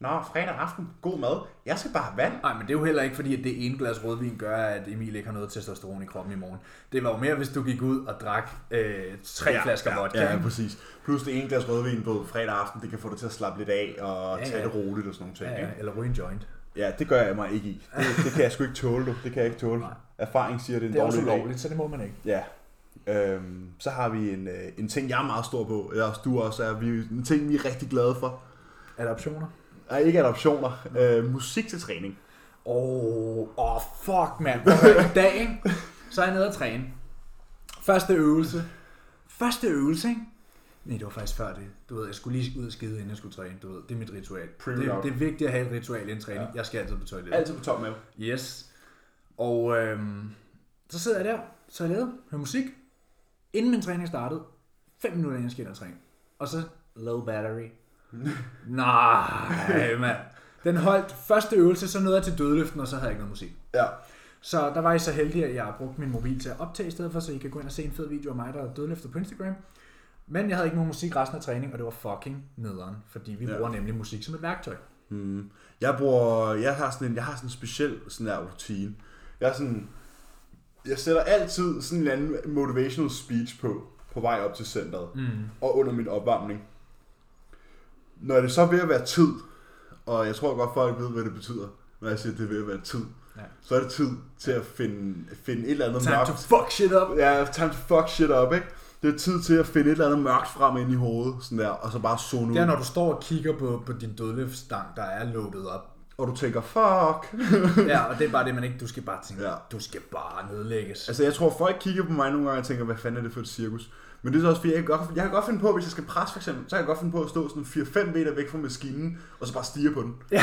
Speaker 1: Nå, fredag aften, god mad, jeg skal bare have vand.
Speaker 2: Nej, men det er jo heller ikke fordi, at det ene glas rødvin gør, at Emil ikke har noget testosteron i kroppen i morgen. Det var jo mere, hvis du gik ud og drak øh, tre ja, flasker
Speaker 1: ja,
Speaker 2: vodka.
Speaker 1: Ja,
Speaker 2: ikke?
Speaker 1: præcis. Plus det ene glas rødvin på fredag aften, det kan få dig til at slappe lidt af og
Speaker 2: Ja,
Speaker 1: ja, tage
Speaker 2: ja.
Speaker 1: det roligt og sådan nogle ting.
Speaker 2: ja,
Speaker 1: Ja,
Speaker 2: ja, eller ryge en joint.
Speaker 1: ja det gør jeg mig ikke i. Det, det kan jeg sgu ikke tåle, du. Det kan jeg ikke tåle.
Speaker 2: Nej.
Speaker 1: Erfaring siger, det er en
Speaker 2: Det er også
Speaker 1: dårlig idé.
Speaker 2: ulovligt, så det må man ikke.
Speaker 1: Ja. Øhm, så har vi en, øh, en ting, jeg er meget stor på, eller også du også er, vi, en ting, vi er rigtig glade for.
Speaker 2: Adoptioner?
Speaker 1: Nej, ikke adoptioner. Øh, musik til træning.
Speaker 2: Åh, oh, oh, fuck mand. Prøv at høre, I dag, ikke? så er jeg nede og træne. Første øvelse. Første øvelse, ikke? Nej, det var faktisk før det. Du ved, jeg skulle lige ud og skide, inden jeg skulle træne. Du ved, det er mit ritual. Det,
Speaker 1: Pre-workout.
Speaker 2: det er vigtigt at have et ritual i en træning. Ja. Jeg skal altid på toilettet.
Speaker 1: Altid på top mave.
Speaker 2: Yes. Og øhm, så sidder jeg der, så er jeg lavet, hører musik. Inden min træning startede, 5 minutter inden jeg skal ind og træne. Og så low battery. Nej, mand. Den holdt første øvelse, så nåede jeg til dødløften, og så havde jeg ikke noget musik.
Speaker 1: Ja.
Speaker 2: Så der var jeg så heldig, at jeg har brugt min mobil til at optage i stedet for, så I kan gå ind og se en fed video af mig, der dødløfter på Instagram. Men jeg havde ikke nogen musik resten af træning, og det var fucking nederen, fordi vi ja.
Speaker 1: Ja.
Speaker 2: bruger nemlig musik som et værktøj.
Speaker 1: Mm. Jeg bruger, jeg har sådan en, jeg har sådan en speciel sådan der rutine. Jeg er sådan, jeg sætter altid sådan en eller anden motivational speech på, på vej op til centret, mm. og under min opvarmning. Når det så er ved at være tid, og jeg tror godt folk ved, hvad det betyder, når jeg siger, at det er ved at være tid,
Speaker 2: Ja.
Speaker 1: ja. så er det tid til at finde, finde et eller andet
Speaker 2: Time to
Speaker 1: mørkt
Speaker 2: fuck shit up!
Speaker 1: Ja, time to fuck shit up, ikke? Det er tid til at finde et eller andet mørkt frem ind i hovedet, sådan der, og så bare zone ud.
Speaker 2: Det er, når du står og kigger på, på din dødløftstang, der er loaded op.
Speaker 1: Og du tænker, fuck.
Speaker 2: Ja, og det er bare det, man ikke... Du skal bare tænke, ja.
Speaker 1: Ja.
Speaker 2: du skal bare nedlægges.
Speaker 1: altså, jeg tror, folk kigger på mig nogle gange og tænker, hvad fanden er det for et cirkus? Men det er så også, fordi jeg kan, godt, jeg kan godt finde på, hvis jeg skal presse for eksempel, så kan jeg godt finde på at stå sådan 4-5 meter væk fra maskinen, og så bare stige på den.
Speaker 2: Ja.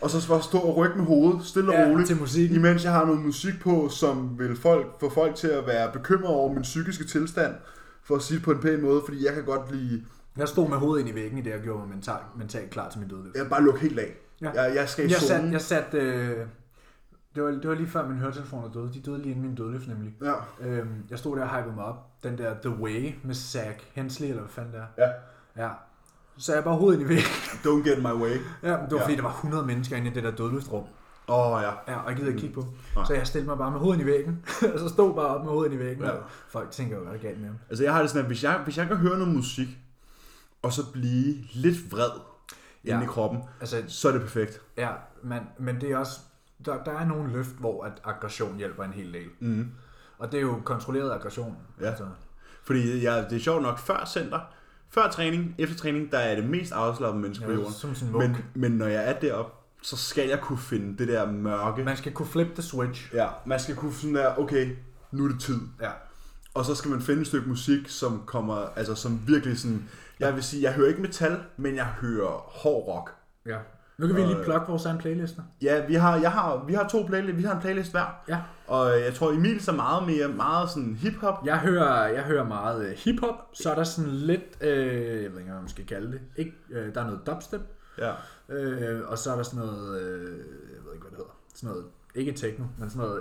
Speaker 1: Og så bare stå og rykke med hovedet, stille
Speaker 2: Ja,
Speaker 1: og roligt,
Speaker 2: til musikken.
Speaker 1: imens jeg har noget musik på, som vil folk, få folk til at være bekymrede over min psykiske tilstand, for at sige det på en pæn måde, fordi jeg kan godt lide
Speaker 2: Jeg stod med hovedet ind i væggen i det, og gjorde mig mentalt, mentalt klar til min dødløft.
Speaker 1: Jeg bare lukke helt af.
Speaker 2: Ja.
Speaker 1: Ja. Jeg, jeg skal i
Speaker 2: Jeg
Speaker 1: zonen.
Speaker 2: satte... Jeg sat, øh, det, var, det var lige før mine høretelefoner døde. De døde lige inden min dødløft, nemlig.
Speaker 1: Ja.
Speaker 2: Øhm, jeg stod der og hypede mig op. Den der The Way med Zack Hensley, eller hvad fanden det er.
Speaker 1: ja.
Speaker 2: Ja. Så jeg bare hovedet ind i væggen.
Speaker 1: Don't get in my way.
Speaker 2: Ja, men det var
Speaker 1: Ja.
Speaker 2: fordi, der var 100 mennesker inde i det der dødløftrum.
Speaker 1: Åh oh, ja.
Speaker 2: Ja, og jeg gider ikke kigge på.
Speaker 1: Mm. Nej.
Speaker 2: Så jeg stillede mig bare med hovedet i væggen. og så stod bare op med hovedet i væggen.
Speaker 1: Ja.
Speaker 2: Ja. Folk tænker jo, hvad er der galt med ham.
Speaker 1: Altså jeg har det sådan, at hvis jeg, hvis jeg kan høre noget musik, og så blive lidt vred
Speaker 2: Ja.
Speaker 1: ja. inde i kroppen,
Speaker 2: Altså,
Speaker 1: så er det perfekt.
Speaker 2: ja, man, men det er også... Der, der er nogle løft, hvor at aggression hjælper en hel del.
Speaker 1: Mm.
Speaker 2: Og det er jo kontrolleret aggression.
Speaker 1: Ja.
Speaker 2: Altså,
Speaker 1: Fordi jeg, det er sjovt nok, før center, Før træning, efter træning, der er jeg det mest afslappede menneske på
Speaker 2: Ja,
Speaker 1: jorden.
Speaker 2: som sådan en munk.
Speaker 1: Men, men når jeg er deroppe, så skal jeg kunne finde det der mørke.
Speaker 2: Man skal kunne flippe the switch.
Speaker 1: Ja, man skal kunne sådan der, okay, nu er det tid.
Speaker 2: Ja.
Speaker 1: Og så skal man finde et stykke musik, som kommer, altså som virkelig sådan, jeg vil sige, jeg hører ikke metal, men jeg hører hård rock.
Speaker 2: ja. Nu kan vi
Speaker 1: øh,
Speaker 2: lige plukke vores egen playlister.
Speaker 1: Ja, vi har, jeg har, vi har to playlist, vi har en playlist hver.
Speaker 2: Ja.
Speaker 1: Og øh, jeg tror, Emil så meget mere, meget sådan hip-hop.
Speaker 2: Jeg hører, jeg hører meget øh, hiphop, så er der sådan lidt, øh, jeg ved ikke, hvad man skal kalde det, ikke, øh, der er noget dubstep,
Speaker 1: Ja.
Speaker 2: øh, og så er der sådan noget, øh, jeg ved ikke, hvad det hedder, sådan noget, ikke techno, men sådan noget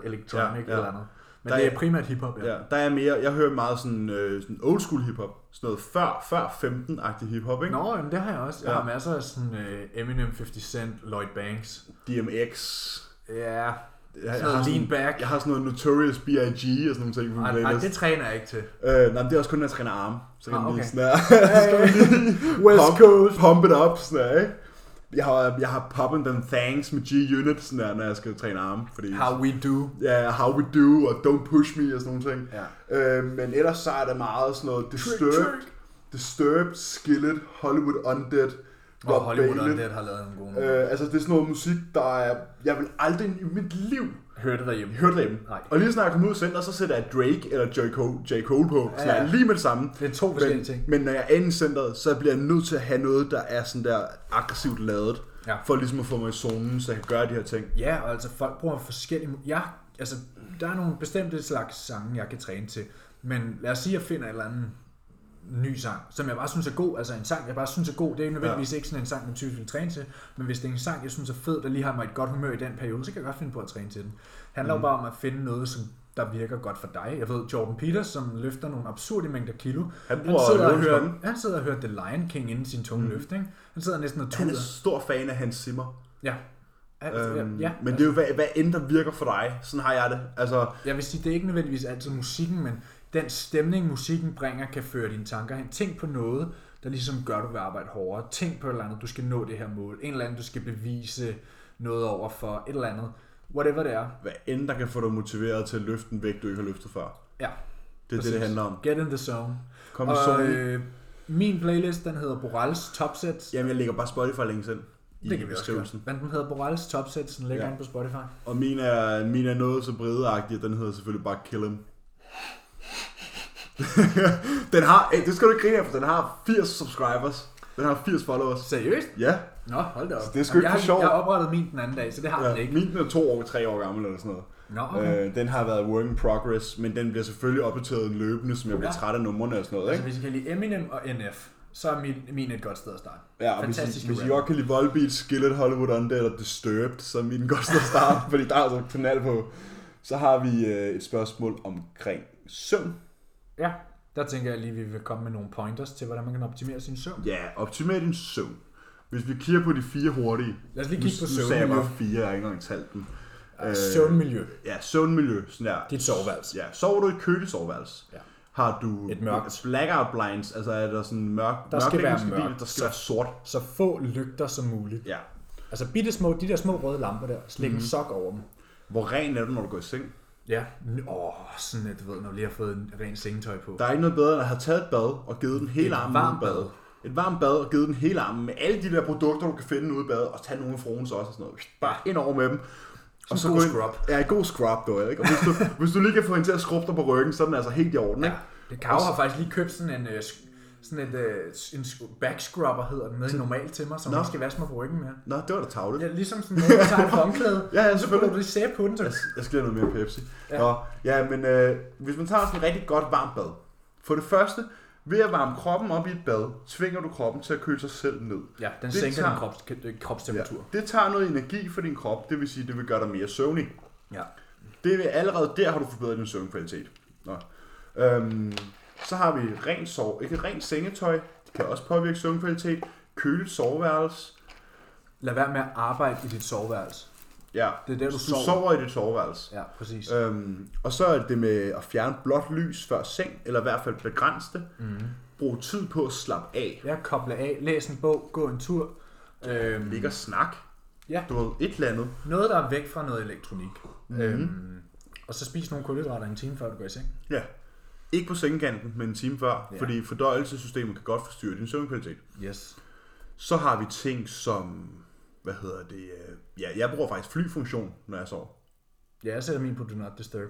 Speaker 1: Ja,
Speaker 2: electronic ja,
Speaker 1: ja.
Speaker 2: ja. eller andet. Men
Speaker 1: Der
Speaker 2: det
Speaker 1: er-
Speaker 2: er primært hiphop, ja.
Speaker 1: Ja, der er mere, jeg hører meget sådan, øh, sådan old school hiphop. Sådan noget før, før 15-agtig hiphop, ikke?
Speaker 2: Nå, jamen, det har jeg også. Jeg
Speaker 1: Ja.
Speaker 2: har masser af sådan øh, Eminem, 50 Cent, Lloyd Banks.
Speaker 1: DMX.
Speaker 2: Ja,
Speaker 1: Jeg, jeg,
Speaker 2: Sådan
Speaker 1: har
Speaker 2: noget
Speaker 1: sådan,
Speaker 2: lean back.
Speaker 1: jeg har sådan noget Notorious B.I.G. og sådan nogle ting på min
Speaker 2: nej, nej,
Speaker 1: playlist.
Speaker 2: det træner jeg ikke til.
Speaker 1: Øh, nej, men det er også kun, når jeg træner arme. Så kan
Speaker 2: Ah,
Speaker 1: ah, okay. lige
Speaker 2: okay.
Speaker 1: sådan der. så skal man lige
Speaker 2: West
Speaker 1: pump, Coast. pump it up, sådan der, ikke? Jeg har, jeg har poppin' den thanks med G-Unit, sådan der, når jeg skal træne arme. Fordi,
Speaker 2: How we do.
Speaker 1: ja, how we do, og don't push me, og sådan nogle ting.
Speaker 2: Ja.
Speaker 1: Øh, men ellers så er der meget sådan noget Disturbed,
Speaker 2: Trick, trick.
Speaker 1: Disturbed Skillet, Hollywood Undead,
Speaker 2: Og
Speaker 1: Rob
Speaker 2: Hollywood
Speaker 1: Bailey.
Speaker 2: Undead har lavet en god nummer.
Speaker 1: Øh, altså, det er sådan noget musik, der er... Jeg vil aldrig i mit liv
Speaker 2: Hørte det derhjemme.
Speaker 1: hørte dem.
Speaker 2: Nej.
Speaker 1: Og lige snart jeg kom ud af center, så sætter jeg Drake eller J. Cole, J. Cole på. Så
Speaker 2: Ja,
Speaker 1: ja,
Speaker 2: ja.
Speaker 1: ja. lige med det samme.
Speaker 2: Det er to forskellige
Speaker 1: Men,
Speaker 2: ting.
Speaker 1: men når jeg er inde i centret, så bliver jeg nødt til at have noget, der er sådan der aggressivt lavet.
Speaker 2: Ja.
Speaker 1: For ligesom at få mig i zonen, så jeg kan gøre de her ting.
Speaker 2: Ja, og altså folk bruger forskellige... mu- Ja, altså, der er nogle bestemte slags sange, jeg kan træne til. Men lad os sige, at jeg finder en eller anden ny sang, som jeg bare synes er god. Altså en sang, jeg bare synes er god. Det er ikke nødvendigvis ja. ikke sådan en sang, man typisk vil træne til. Men hvis det er en sang, jeg synes er fed, der lige har mig i et godt humør i den periode, så kan jeg godt finde på at træne til den. Det handler
Speaker 1: Mhm.
Speaker 2: mm. jo bare om at finde noget, som der virker godt for dig. Jeg ved, Jordan Peters, som løfter nogle absurde mængder kilo.
Speaker 1: Han
Speaker 2: Han
Speaker 1: bruger Mhm.
Speaker 2: sidder, og
Speaker 1: løvens
Speaker 2: hører,
Speaker 1: konge.
Speaker 2: han sidder og hører The Lion King inden sin tunge mm. løft, ikke? Han sidder næsten og
Speaker 1: Han er
Speaker 2: tuder.
Speaker 1: stor fan af Hans Zimmer.
Speaker 2: Ja. Altså,
Speaker 1: Øhm,
Speaker 2: ja,
Speaker 1: men det er jo, hvad, hvad end der virker for dig. Sådan har jeg det. Altså,
Speaker 2: Jeg vil sige, det er ikke nødvendigvis altid musikken, men den stemning, musikken bringer, kan føre dine tanker hen. Tænk på noget, der ligesom gør, at du vil arbejde hårdere. Tænk på et eller andet, du skal nå det her mål. En eller anden, du skal bevise noget over for et eller andet. Whatever det er.
Speaker 1: hvad end der kan få dig motiveret til at løfte en vægt, du ikke har løftet før.
Speaker 2: Ja,
Speaker 1: Det er Præcis. det, det handler om.
Speaker 2: Get in the zone.
Speaker 1: Kom i
Speaker 2: Og
Speaker 1: zonen.
Speaker 2: øh, min playlist, den hedder Borals Topsets.
Speaker 1: Jamen, jeg lægger bare Spotify links ind i
Speaker 2: det kan vi også
Speaker 1: beskrivelsen.
Speaker 2: gøre. Men den hedder Borals Topsets, den ligger
Speaker 1: Ja.
Speaker 2: ja. på Spotify.
Speaker 1: Og min er, min er noget så bredeagtig, at den hedder selvfølgelig bare Kill Him. den har, eh, det skal du ikke grine af, for den har 80 subscribers. Den har 80 followers.
Speaker 2: Seriøst?
Speaker 1: Ja,
Speaker 2: Nå, hold da op.
Speaker 1: Det er sgu ikke
Speaker 2: jeg,
Speaker 1: for
Speaker 2: har-
Speaker 1: sjov.
Speaker 2: Jeg oprettede min den anden dag, så det har den
Speaker 1: ja
Speaker 2: ikke.
Speaker 1: min er to år, tre år gammel eller sådan noget.
Speaker 2: Nå, okay.
Speaker 1: Okay. Øh, den har været work in progress, men den bliver selvfølgelig opdateret løbende, som jeg bliver
Speaker 2: Ja.
Speaker 1: træt af numrene og sådan noget.
Speaker 2: Altså,
Speaker 1: Ikke?
Speaker 2: hvis I kan lide Eminem og NF, så er min, min et godt sted at starte.
Speaker 1: Ja, og hvis, I,
Speaker 2: fantastiske
Speaker 1: hvis I
Speaker 2: rapper.
Speaker 1: godt kan lide Volbeat, Skillet, Hollywood Undead eller Disturbed, så er min godt sted at starte, fordi der er altså knald på. Så har vi øh, et spørgsmål omkring søvn.
Speaker 2: Ja, der tænker jeg lige, at vi vil komme med nogle pointers til, hvordan man kan optimere sin søvn.
Speaker 1: Ja, optimer din søvn. Hvis vi kigger på de fire hurtige.
Speaker 2: Lad os lige kigge på
Speaker 1: Nu sagde jeg
Speaker 2: søvnmiljø.
Speaker 1: bare fire, jeg har ikke engang talt dem.
Speaker 2: Øh, søvnmiljø.
Speaker 1: Ja, søvnmiljø. Sådan der.
Speaker 2: Dit soveværelse.
Speaker 1: Ja, sover du i et køligt soveværelse?
Speaker 2: Ja.
Speaker 1: Har du
Speaker 2: Et mørkt.
Speaker 1: blackout blinds, altså er der sådan mørk,
Speaker 2: Der skal være
Speaker 1: mørklægningsgardiner,
Speaker 2: mørkt.
Speaker 1: der skal være sort.
Speaker 2: Så få lygter som muligt.
Speaker 1: Ja. Mhm.
Speaker 2: Altså bitte små, de der små røde lamper der, slæg mm. en sok over dem.
Speaker 1: Hvor ren er du, når du går i seng?
Speaker 2: Ja. Åh, sådan at du ved, når du lige har fået en ren sengetøj på.
Speaker 1: Der er ikke noget bedre, end at have taget et bad og givet den hele
Speaker 2: Et
Speaker 1: armen
Speaker 2: varmt
Speaker 1: uden
Speaker 2: bad.
Speaker 1: Et varmt bad og givet den hele armen med alle de der produkter, du kan finde ude i badet, og tage nogle af fruens også og sådan noget. Bare ind over med dem. Og
Speaker 2: en god
Speaker 1: gå ind-
Speaker 2: scrub.
Speaker 1: Ja, en god scrub, du, ikke? Og hvis du, hvis du lige kan få hende til at skrubbe dig på ryggen, så er den altså helt i orden, ikke?
Speaker 2: Ja. Det Kav har faktisk lige købt sådan en, øh, sk- sådan et, øh, en sk- backscrubber hedder den, med normalt til mig, så man ikke skal vaske mig på ryggen mere.
Speaker 1: Nå, det var da tavlet.
Speaker 2: Ja, ligesom sådan noget, du tager et håndklæde,
Speaker 1: Ja, ja,
Speaker 2: så putter
Speaker 1: selvfølgelig.
Speaker 2: du lige sæbe på den, så
Speaker 1: Jeg, jeg skal have noget mere Pepsi. Ja.
Speaker 2: Ja.
Speaker 1: Nå, ja, men øh, hvis man tager sådan et rigtig godt varmt bad. For det første, ved at varme kroppen op i et bad, tvinger du kroppen til at køle sig selv ned.
Speaker 2: Ja, den
Speaker 1: Det
Speaker 2: det sænker
Speaker 1: tager-
Speaker 2: din krops, øh, kropstemperatur.
Speaker 1: Det tager noget energi for din krop, det vil sige, det vil gøre dig mere søvnig.
Speaker 2: Ja.
Speaker 1: Det vil allerede der har du forbedret din søvnkvalitet. Nå. Øhm, så har vi rent sov, ikke rent sengetøj, det kan også påvirke søvnkvalitet. Kølet soveværelse.
Speaker 2: Lad være med at arbejde i dit soveværelse.
Speaker 1: Ja,
Speaker 2: Det er der, du,
Speaker 1: du
Speaker 2: sover.
Speaker 1: sover i dit soveværelse.
Speaker 2: Ja, præcis. Øh.
Speaker 1: Øhm, og så er det det med at fjerne blåt lys før seng, eller i hvert fald begrænse det.
Speaker 2: Mhm.
Speaker 1: Brug tid på at slappe af.
Speaker 2: Jeg kobler af, læs en bog, gå en tur. Øhm,
Speaker 1: Ligge og snak.
Speaker 2: Ja.
Speaker 1: Du ved, et eller andet.
Speaker 2: noget, der er væk Mhm. fra noget elektronik. Mm-hmm. Øhm, og så spis nogle kulhydrater en time, før du går i seng.
Speaker 1: Ja. Ikke på sengekanten, men en time før,
Speaker 2: Ja.
Speaker 1: ja. fordi fordøjelsessystemet kan godt forstyrre din søvnkvalitet.
Speaker 2: Yes.
Speaker 1: Så har vi ting som, hvad hedder det, øh, ja, jeg bruger faktisk flyfunktion, når jeg sover.
Speaker 2: Ja, jeg sætter min på Do Not Disturb.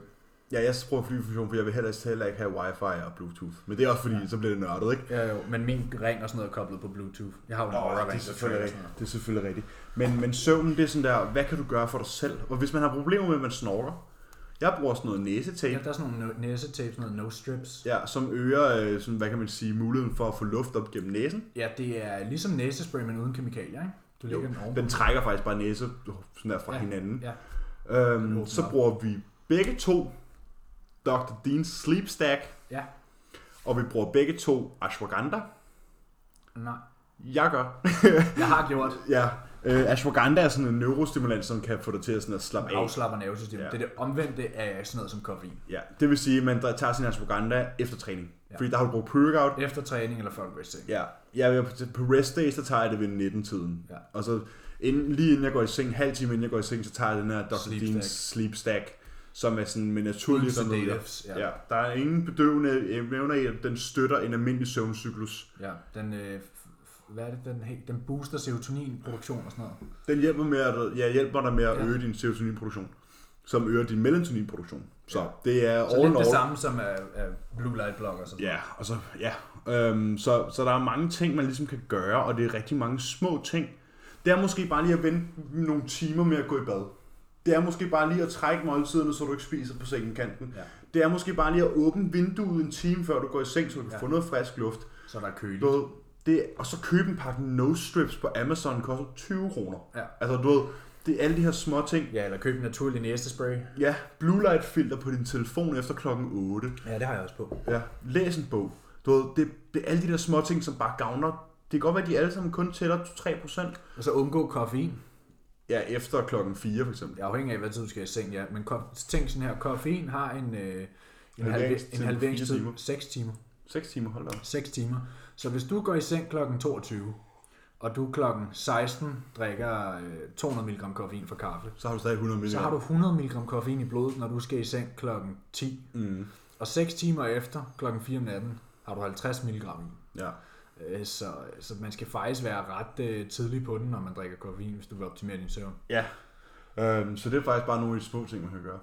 Speaker 1: Ja, jeg bruger flyfunktion, for jeg vil helst heller ikke have wifi og bluetooth. Men det er også fordi, ja. så bliver det nørdet, ikke?
Speaker 2: Ja, jo, men min ring og sådan noget er koblet på Bluetooth. Jeg har jo en
Speaker 1: Nå,
Speaker 2: Aura
Speaker 1: det er
Speaker 2: Ring, der
Speaker 1: selvfølgelig
Speaker 2: trykker
Speaker 1: rigtigt.
Speaker 2: sådan noget.
Speaker 1: Det er selvfølgelig rigtigt. Men, men søvnen, det er sådan der, hvad kan du gøre for dig selv? Og hvis man har problemer med, at man snorker, jeg bruger sådan noget
Speaker 2: Ja,
Speaker 1: næsetape,
Speaker 2: der er sådan nogle no- næsetape, sådan noget no strips.
Speaker 1: ja, som øger, øh, sådan, hvad kan man sige, muligheden for at få luft op gennem næsen.
Speaker 2: Ja, det er ligesom næsespray, men uden kemikalier, ikke? Du lægger den ovenpå.
Speaker 1: Den trækker faktisk bare næse sådan der fra
Speaker 2: Ja,
Speaker 1: hinanden.
Speaker 2: Ja,
Speaker 1: Øhm,
Speaker 2: åbner
Speaker 1: så
Speaker 2: op.
Speaker 1: bruger vi begge to Dr. Dean's Sleep Stack,
Speaker 2: ja.
Speaker 1: og vi bruger begge to ashwagandha.
Speaker 2: Nej,
Speaker 1: Jeg gør.
Speaker 2: jeg har gjort
Speaker 1: Ja, øh, ashwagandha er sådan en neurostimulant, som kan få dig til at, sådan at slappe af.
Speaker 2: afslapper nervesystemet. Ja.
Speaker 1: Ja.
Speaker 2: Det er det omvendte af sådan noget som koffein.
Speaker 1: Ja, det vil sige, at man tager sin ashwagandha efter træning.
Speaker 2: Ja.
Speaker 1: Ja. Fordi der har du brugt pre-workout.
Speaker 2: Efter træning eller før du går i seng.
Speaker 1: Ja, jeg er på, på rest days, der tager jeg det ved 19-tiden.
Speaker 2: Ja.
Speaker 1: Og så inden, lige inden jeg går i seng, halv time inden jeg går i seng, så tager jeg den her Dr.
Speaker 2: Sleep
Speaker 1: Sleep Dean's
Speaker 2: stack.
Speaker 1: Sleep Stack, som er sådan med naturlige remedier.
Speaker 2: Sedatives, ja.
Speaker 1: Ja. ja. der er ingen bedøvende evner i, at den støtter en almindelig søvncyklus.
Speaker 2: ja. Den, øh, f- f- hvad er det, den, he- den booster serotoninproduktion og sådan noget.
Speaker 1: Den hjælper, med at, ja, hjælper dig med at
Speaker 2: Ja.
Speaker 1: ja. øge din serotoninproduktion, som øger din melatoninproduktion. Så det er
Speaker 2: Så
Speaker 1: all
Speaker 2: lidt
Speaker 1: in all.
Speaker 2: det samme som er, er blue light blockers. Og sådan.
Speaker 1: Ja, og så, ja. Øhm, så, så der er mange ting, man ligesom kan gøre, og det er rigtig mange små ting. Det er måske bare lige at vente nogle timer med at gå i bad. Det er måske bare lige at trække måltiderne, så du ikke spiser på sengekanten.
Speaker 2: Ja.
Speaker 1: Det er måske bare lige at åbne vinduet en time, før du går i seng, så du kan
Speaker 2: Ja.
Speaker 1: ja. få noget frisk luft.
Speaker 2: Så der er køligt.
Speaker 1: Du ved, det, og så købe en pakke no strips på Amazon, koster 20 kroner.
Speaker 2: Ja.
Speaker 1: Altså du ved, det er alle de her små ting.
Speaker 2: ja, eller køb en naturlig næsespray.
Speaker 1: Ja, blue light filter på din telefon efter klokken 8.
Speaker 2: Ja, det har jeg også på.
Speaker 1: Ja, læs en bog. Du ved, det, det er alle de der små ting, som bare gavner. Det kan godt være, at de alle sammen kun tæller 2-3%.
Speaker 2: Og så undgå koffein.
Speaker 1: Ja, efter klokken 4 for eksempel.
Speaker 2: Det afhænger af, hvad tid du skal i seng, ja. Men ko- tænk sådan her, koffein har en, øh, en, halve,
Speaker 1: Halveringstid
Speaker 2: en
Speaker 1: på
Speaker 2: halveringstid
Speaker 1: fire timer.
Speaker 2: 6 timer.
Speaker 1: 6 timer, hold da op.
Speaker 2: 6 timer. Så hvis du går i seng kl. 22, og du kl. 16 drikker øh, 200 mg koffein fra kaffe,
Speaker 1: Så har du stadig 100 ml.
Speaker 2: så har du 100 mg koffein i blodet, når du skal i seng kl. 10.
Speaker 1: Mm.
Speaker 2: Og 6 timer efter, kl. 4 om natten, har du 50 mg i.
Speaker 1: Ja.
Speaker 2: Øh, Så, så man skal faktisk være ret øh, tidlig på den, når man drikker koffein, hvis du vil optimere din søvn.
Speaker 1: ja. Øhm, så det er faktisk bare nogle af de små ting, man kan gøre.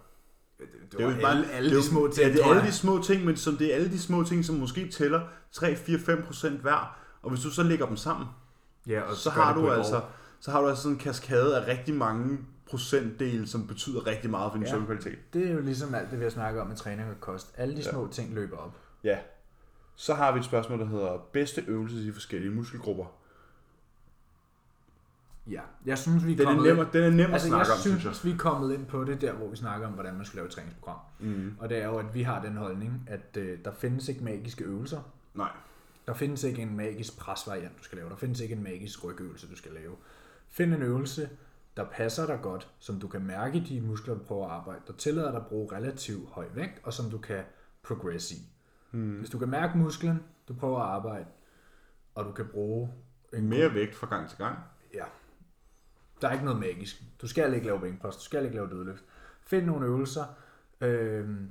Speaker 2: Det, det,
Speaker 1: jo
Speaker 2: var alle, alle de små ting,
Speaker 1: Ja, det er
Speaker 2: tror
Speaker 1: alle
Speaker 2: jeg.
Speaker 1: de små ting, men som det er alle de små ting, som måske tæller 3-4-5% hver. Og hvis du så lægger dem sammen,
Speaker 2: ja, og
Speaker 1: så
Speaker 2: gør
Speaker 1: har
Speaker 2: det på
Speaker 1: du
Speaker 2: et år.
Speaker 1: altså så har du altså sådan en kaskade af rigtig mange procentdele, som betyder rigtig meget for din
Speaker 2: Ja.
Speaker 1: ja. søvnkvalitet.
Speaker 2: Det er jo ligesom alt det, vi har snakket om med træning og kost. Alle de
Speaker 1: Ja.
Speaker 2: små ting løber op.
Speaker 1: Ja. Så har vi et spørgsmål, der hedder bedste øvelse i forskellige muskelgrupper.
Speaker 2: Ja, jeg synes, vi er
Speaker 1: Den er
Speaker 2: kommet
Speaker 1: nem, den er nem
Speaker 2: ind. Altså,
Speaker 1: at
Speaker 2: jeg
Speaker 1: snakke om, synes jeg.
Speaker 2: synes, vi er kommet ind på det der, hvor vi snakker om, hvordan man skal lave et træningsprogram.
Speaker 1: Mm.
Speaker 2: Og det er jo, at vi har den holdning, at øh, der findes ikke magiske øvelser.
Speaker 1: Nej.
Speaker 2: Der findes ikke en magisk presvariant, du skal lave. Der findes ikke en magisk rygøvelse, du skal lave. Find en øvelse, der passer dig godt, som du kan mærke i de muskler, du prøver at arbejde, der tillader dig at bruge relativt høj vægt, og som du kan progress i.
Speaker 1: Mm.
Speaker 2: Hmm. Hvis du kan mærke musklen, du prøver at arbejde, og du kan bruge en
Speaker 1: Mere vægt fra gang til gang.
Speaker 2: Ja. Der er ikke noget magisk. Du skal ikke lave bænkpres, du skal ikke lave dødløft. Find nogle øvelser. Øhm,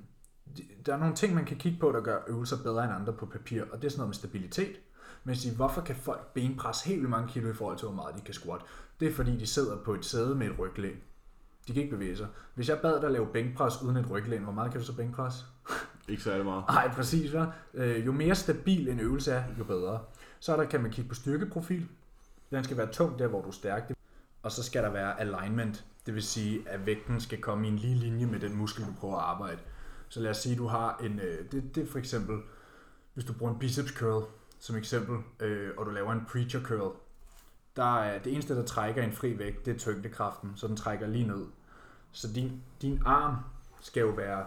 Speaker 2: de- der er nogle ting, man kan kigge på, der gør øvelser bedre end andre på papir, og det er sådan noget med stabilitet. Men sige, hvorfor kan folk benpresse helt vildt mange kilo i forhold til, hvor meget de kan squat? Det er fordi, de sidder på et sæde med et ryglæn. De kan ikke bevæge sig. Hvis jeg bad dig lave bænkpres uden et ryglæn, hvor meget kan du så bænkpres?
Speaker 1: Ikke særlig meget.
Speaker 2: Nej, præcis. hva'? Øh, jo mere stabil en øvelse er, jo bedre. Så er der, kan man kigge på styrkeprofil. Den skal være tung der, hvor du er stærk. Og så skal der være alignment. Det vil sige, at vægten skal komme i en lige linje med den muskel, du prøver at arbejde. Så lad os sige, at du har en... Øh, det, det er for eksempel, hvis du bruger en biceps curl som eksempel, øh, og du laver en preacher curl. Der er, det eneste, der trækker en fri vægt, det er tyngdekraften, så den trækker lige ned. Så din, din arm skal jo være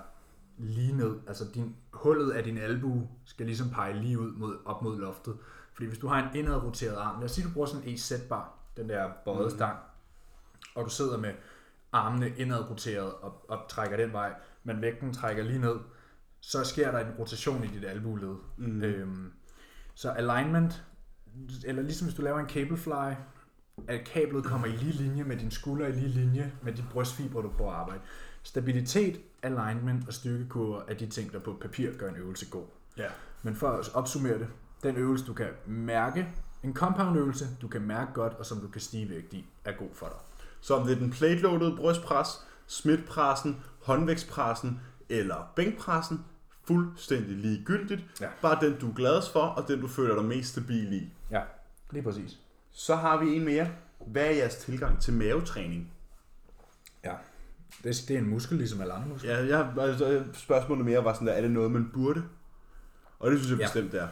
Speaker 2: lige ned. Altså din, hullet af din albue skal ligesom pege lige ud mod, op mod loftet. Fordi hvis du har en indadroteret arm, lad os sige, du bruger sådan en EZ-bar, den der bøjet stang, og du sidder med armene indadroteret og, og trækker den vej, men vægten trækker lige ned, så sker der en rotation i dit albuled. Mm. Øhm, så alignment, eller ligesom hvis du laver en cablefly, at kablet kommer i lige linje med din skulder, i lige linje med de brystfibre, du prøver at arbejde. Stabilitet, alignment og styrkekurver er de ting, der på papir gør en øvelse god.
Speaker 1: Ja.
Speaker 2: Men for at opsummere det, den øvelse, du kan mærke, en compound øvelse, du kan mærke godt, og som du kan stige vægt i, er god for dig.
Speaker 1: Så om det er den platelådede brystpres, smidtpressen, håndvægtspressen eller bænkpressen, fuldstændig ligegyldigt.
Speaker 2: Ja.
Speaker 1: Bare den, du er gladest for, og den, du føler dig mest stabil i.
Speaker 2: Ja, lige præcis.
Speaker 1: Så har vi en mere. Hvad er jeres tilgang til mavetræning?
Speaker 2: Ja. Det, det er en muskel, ligesom alle andre muskler.
Speaker 1: Ja, jeg, altså, spørgsmålet mere var sådan der, er det noget, man burde? Og det synes jeg
Speaker 2: Ja.
Speaker 1: bestemt, det er.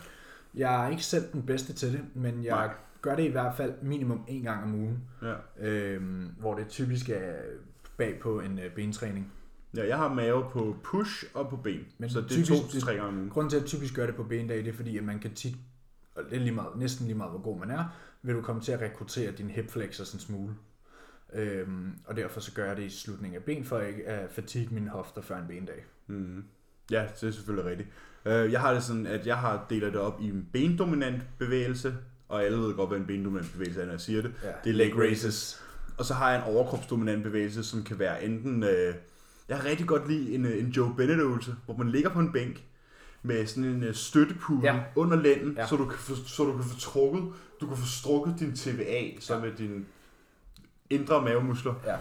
Speaker 2: Jeg er ikke selv den bedste til det, men jeg
Speaker 1: Nej.
Speaker 2: gør det i hvert fald minimum en gang om ugen,
Speaker 1: Ja.
Speaker 2: øhm, hvor det typisk er bag på en øh, bentræning.
Speaker 1: ja, jeg har mave på push og på ben. Men
Speaker 2: Men
Speaker 1: så det er
Speaker 2: typisk-
Speaker 1: to til tre gange om ugen.
Speaker 2: Grunden til, at jeg typisk gør det på bendag, det er fordi, at man kan tit, og det er lige meget, næsten lige meget, hvor god man er, vil du komme til at rekruttere din hip flexor sådan en smule. Øhm, og derfor så gør jeg det i slutningen af ben, for ikke at fatigue mine hofter før en bendag.
Speaker 1: Mm. Ja, det er selvfølgelig rigtigt. Øh, Jeg har det sådan, at jeg har deler det op i en bendominant bevægelse, og alle ved godt, hvad en bendominant bevægelse er, når jeg siger det.
Speaker 2: Ja,
Speaker 1: det er leg raises. Og så har jeg en overkropsdominant bevægelse, som kan være enten... Øh, jeg har rigtig godt lide en, øh, en Joe Bennett-øvelse, hvor man ligger på en bænk med sådan en øh, støttepude ja.
Speaker 2: Ja.
Speaker 1: under lænden, ja.
Speaker 2: Ja.
Speaker 1: så, du kan få, så du kan få trukket, du kan få strukket din TVA, som ja. er dine indre mavemuskler.
Speaker 2: Ja,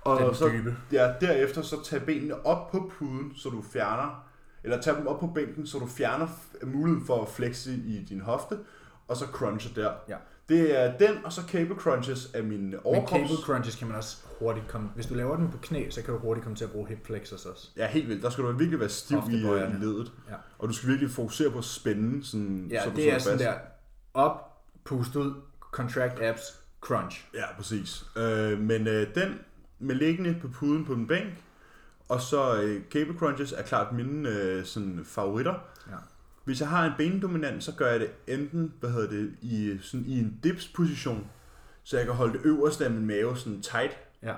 Speaker 1: Og
Speaker 2: den
Speaker 1: så
Speaker 2: dybe.
Speaker 1: Ja, derefter så tage benene op på puden, så du fjerner, eller tage dem op på bænken, så du fjerner f- muligheden for at flexe i din hofte, og så crunche der.
Speaker 2: Ja.
Speaker 1: Det er den, og så cable crunches af min
Speaker 2: Men cable
Speaker 1: overkrops.
Speaker 2: crunches kan man også hurtigt komme... Hvis du laver den på knæ, så kan du hurtigt komme til at bruge hip flexors også.
Speaker 1: Ja, helt vildt. Der skal du virkelig være stiv i
Speaker 2: Hoftebøjerne.
Speaker 1: øh, ledet.
Speaker 2: Ja.
Speaker 1: Og du skal virkelig fokusere på at spænde. Sådan,
Speaker 2: Ja,
Speaker 1: så
Speaker 2: så
Speaker 1: du
Speaker 2: det
Speaker 1: sidder
Speaker 2: er sådan
Speaker 1: fast.
Speaker 2: der op, pust ud, contract abs, crunch.
Speaker 1: Ja, præcis. Øh, men øh, den med liggende på puden på en bænk, og så øh, cable crunches er klart mine øh, sådan, favoritter.
Speaker 2: Ja.
Speaker 1: Hvis jeg har en bendominant, så gør jeg det enten, hvad hedder det, i, sådan, i en dips-position, så jeg kan holde det øverste af min mave sådan tight,
Speaker 2: ja.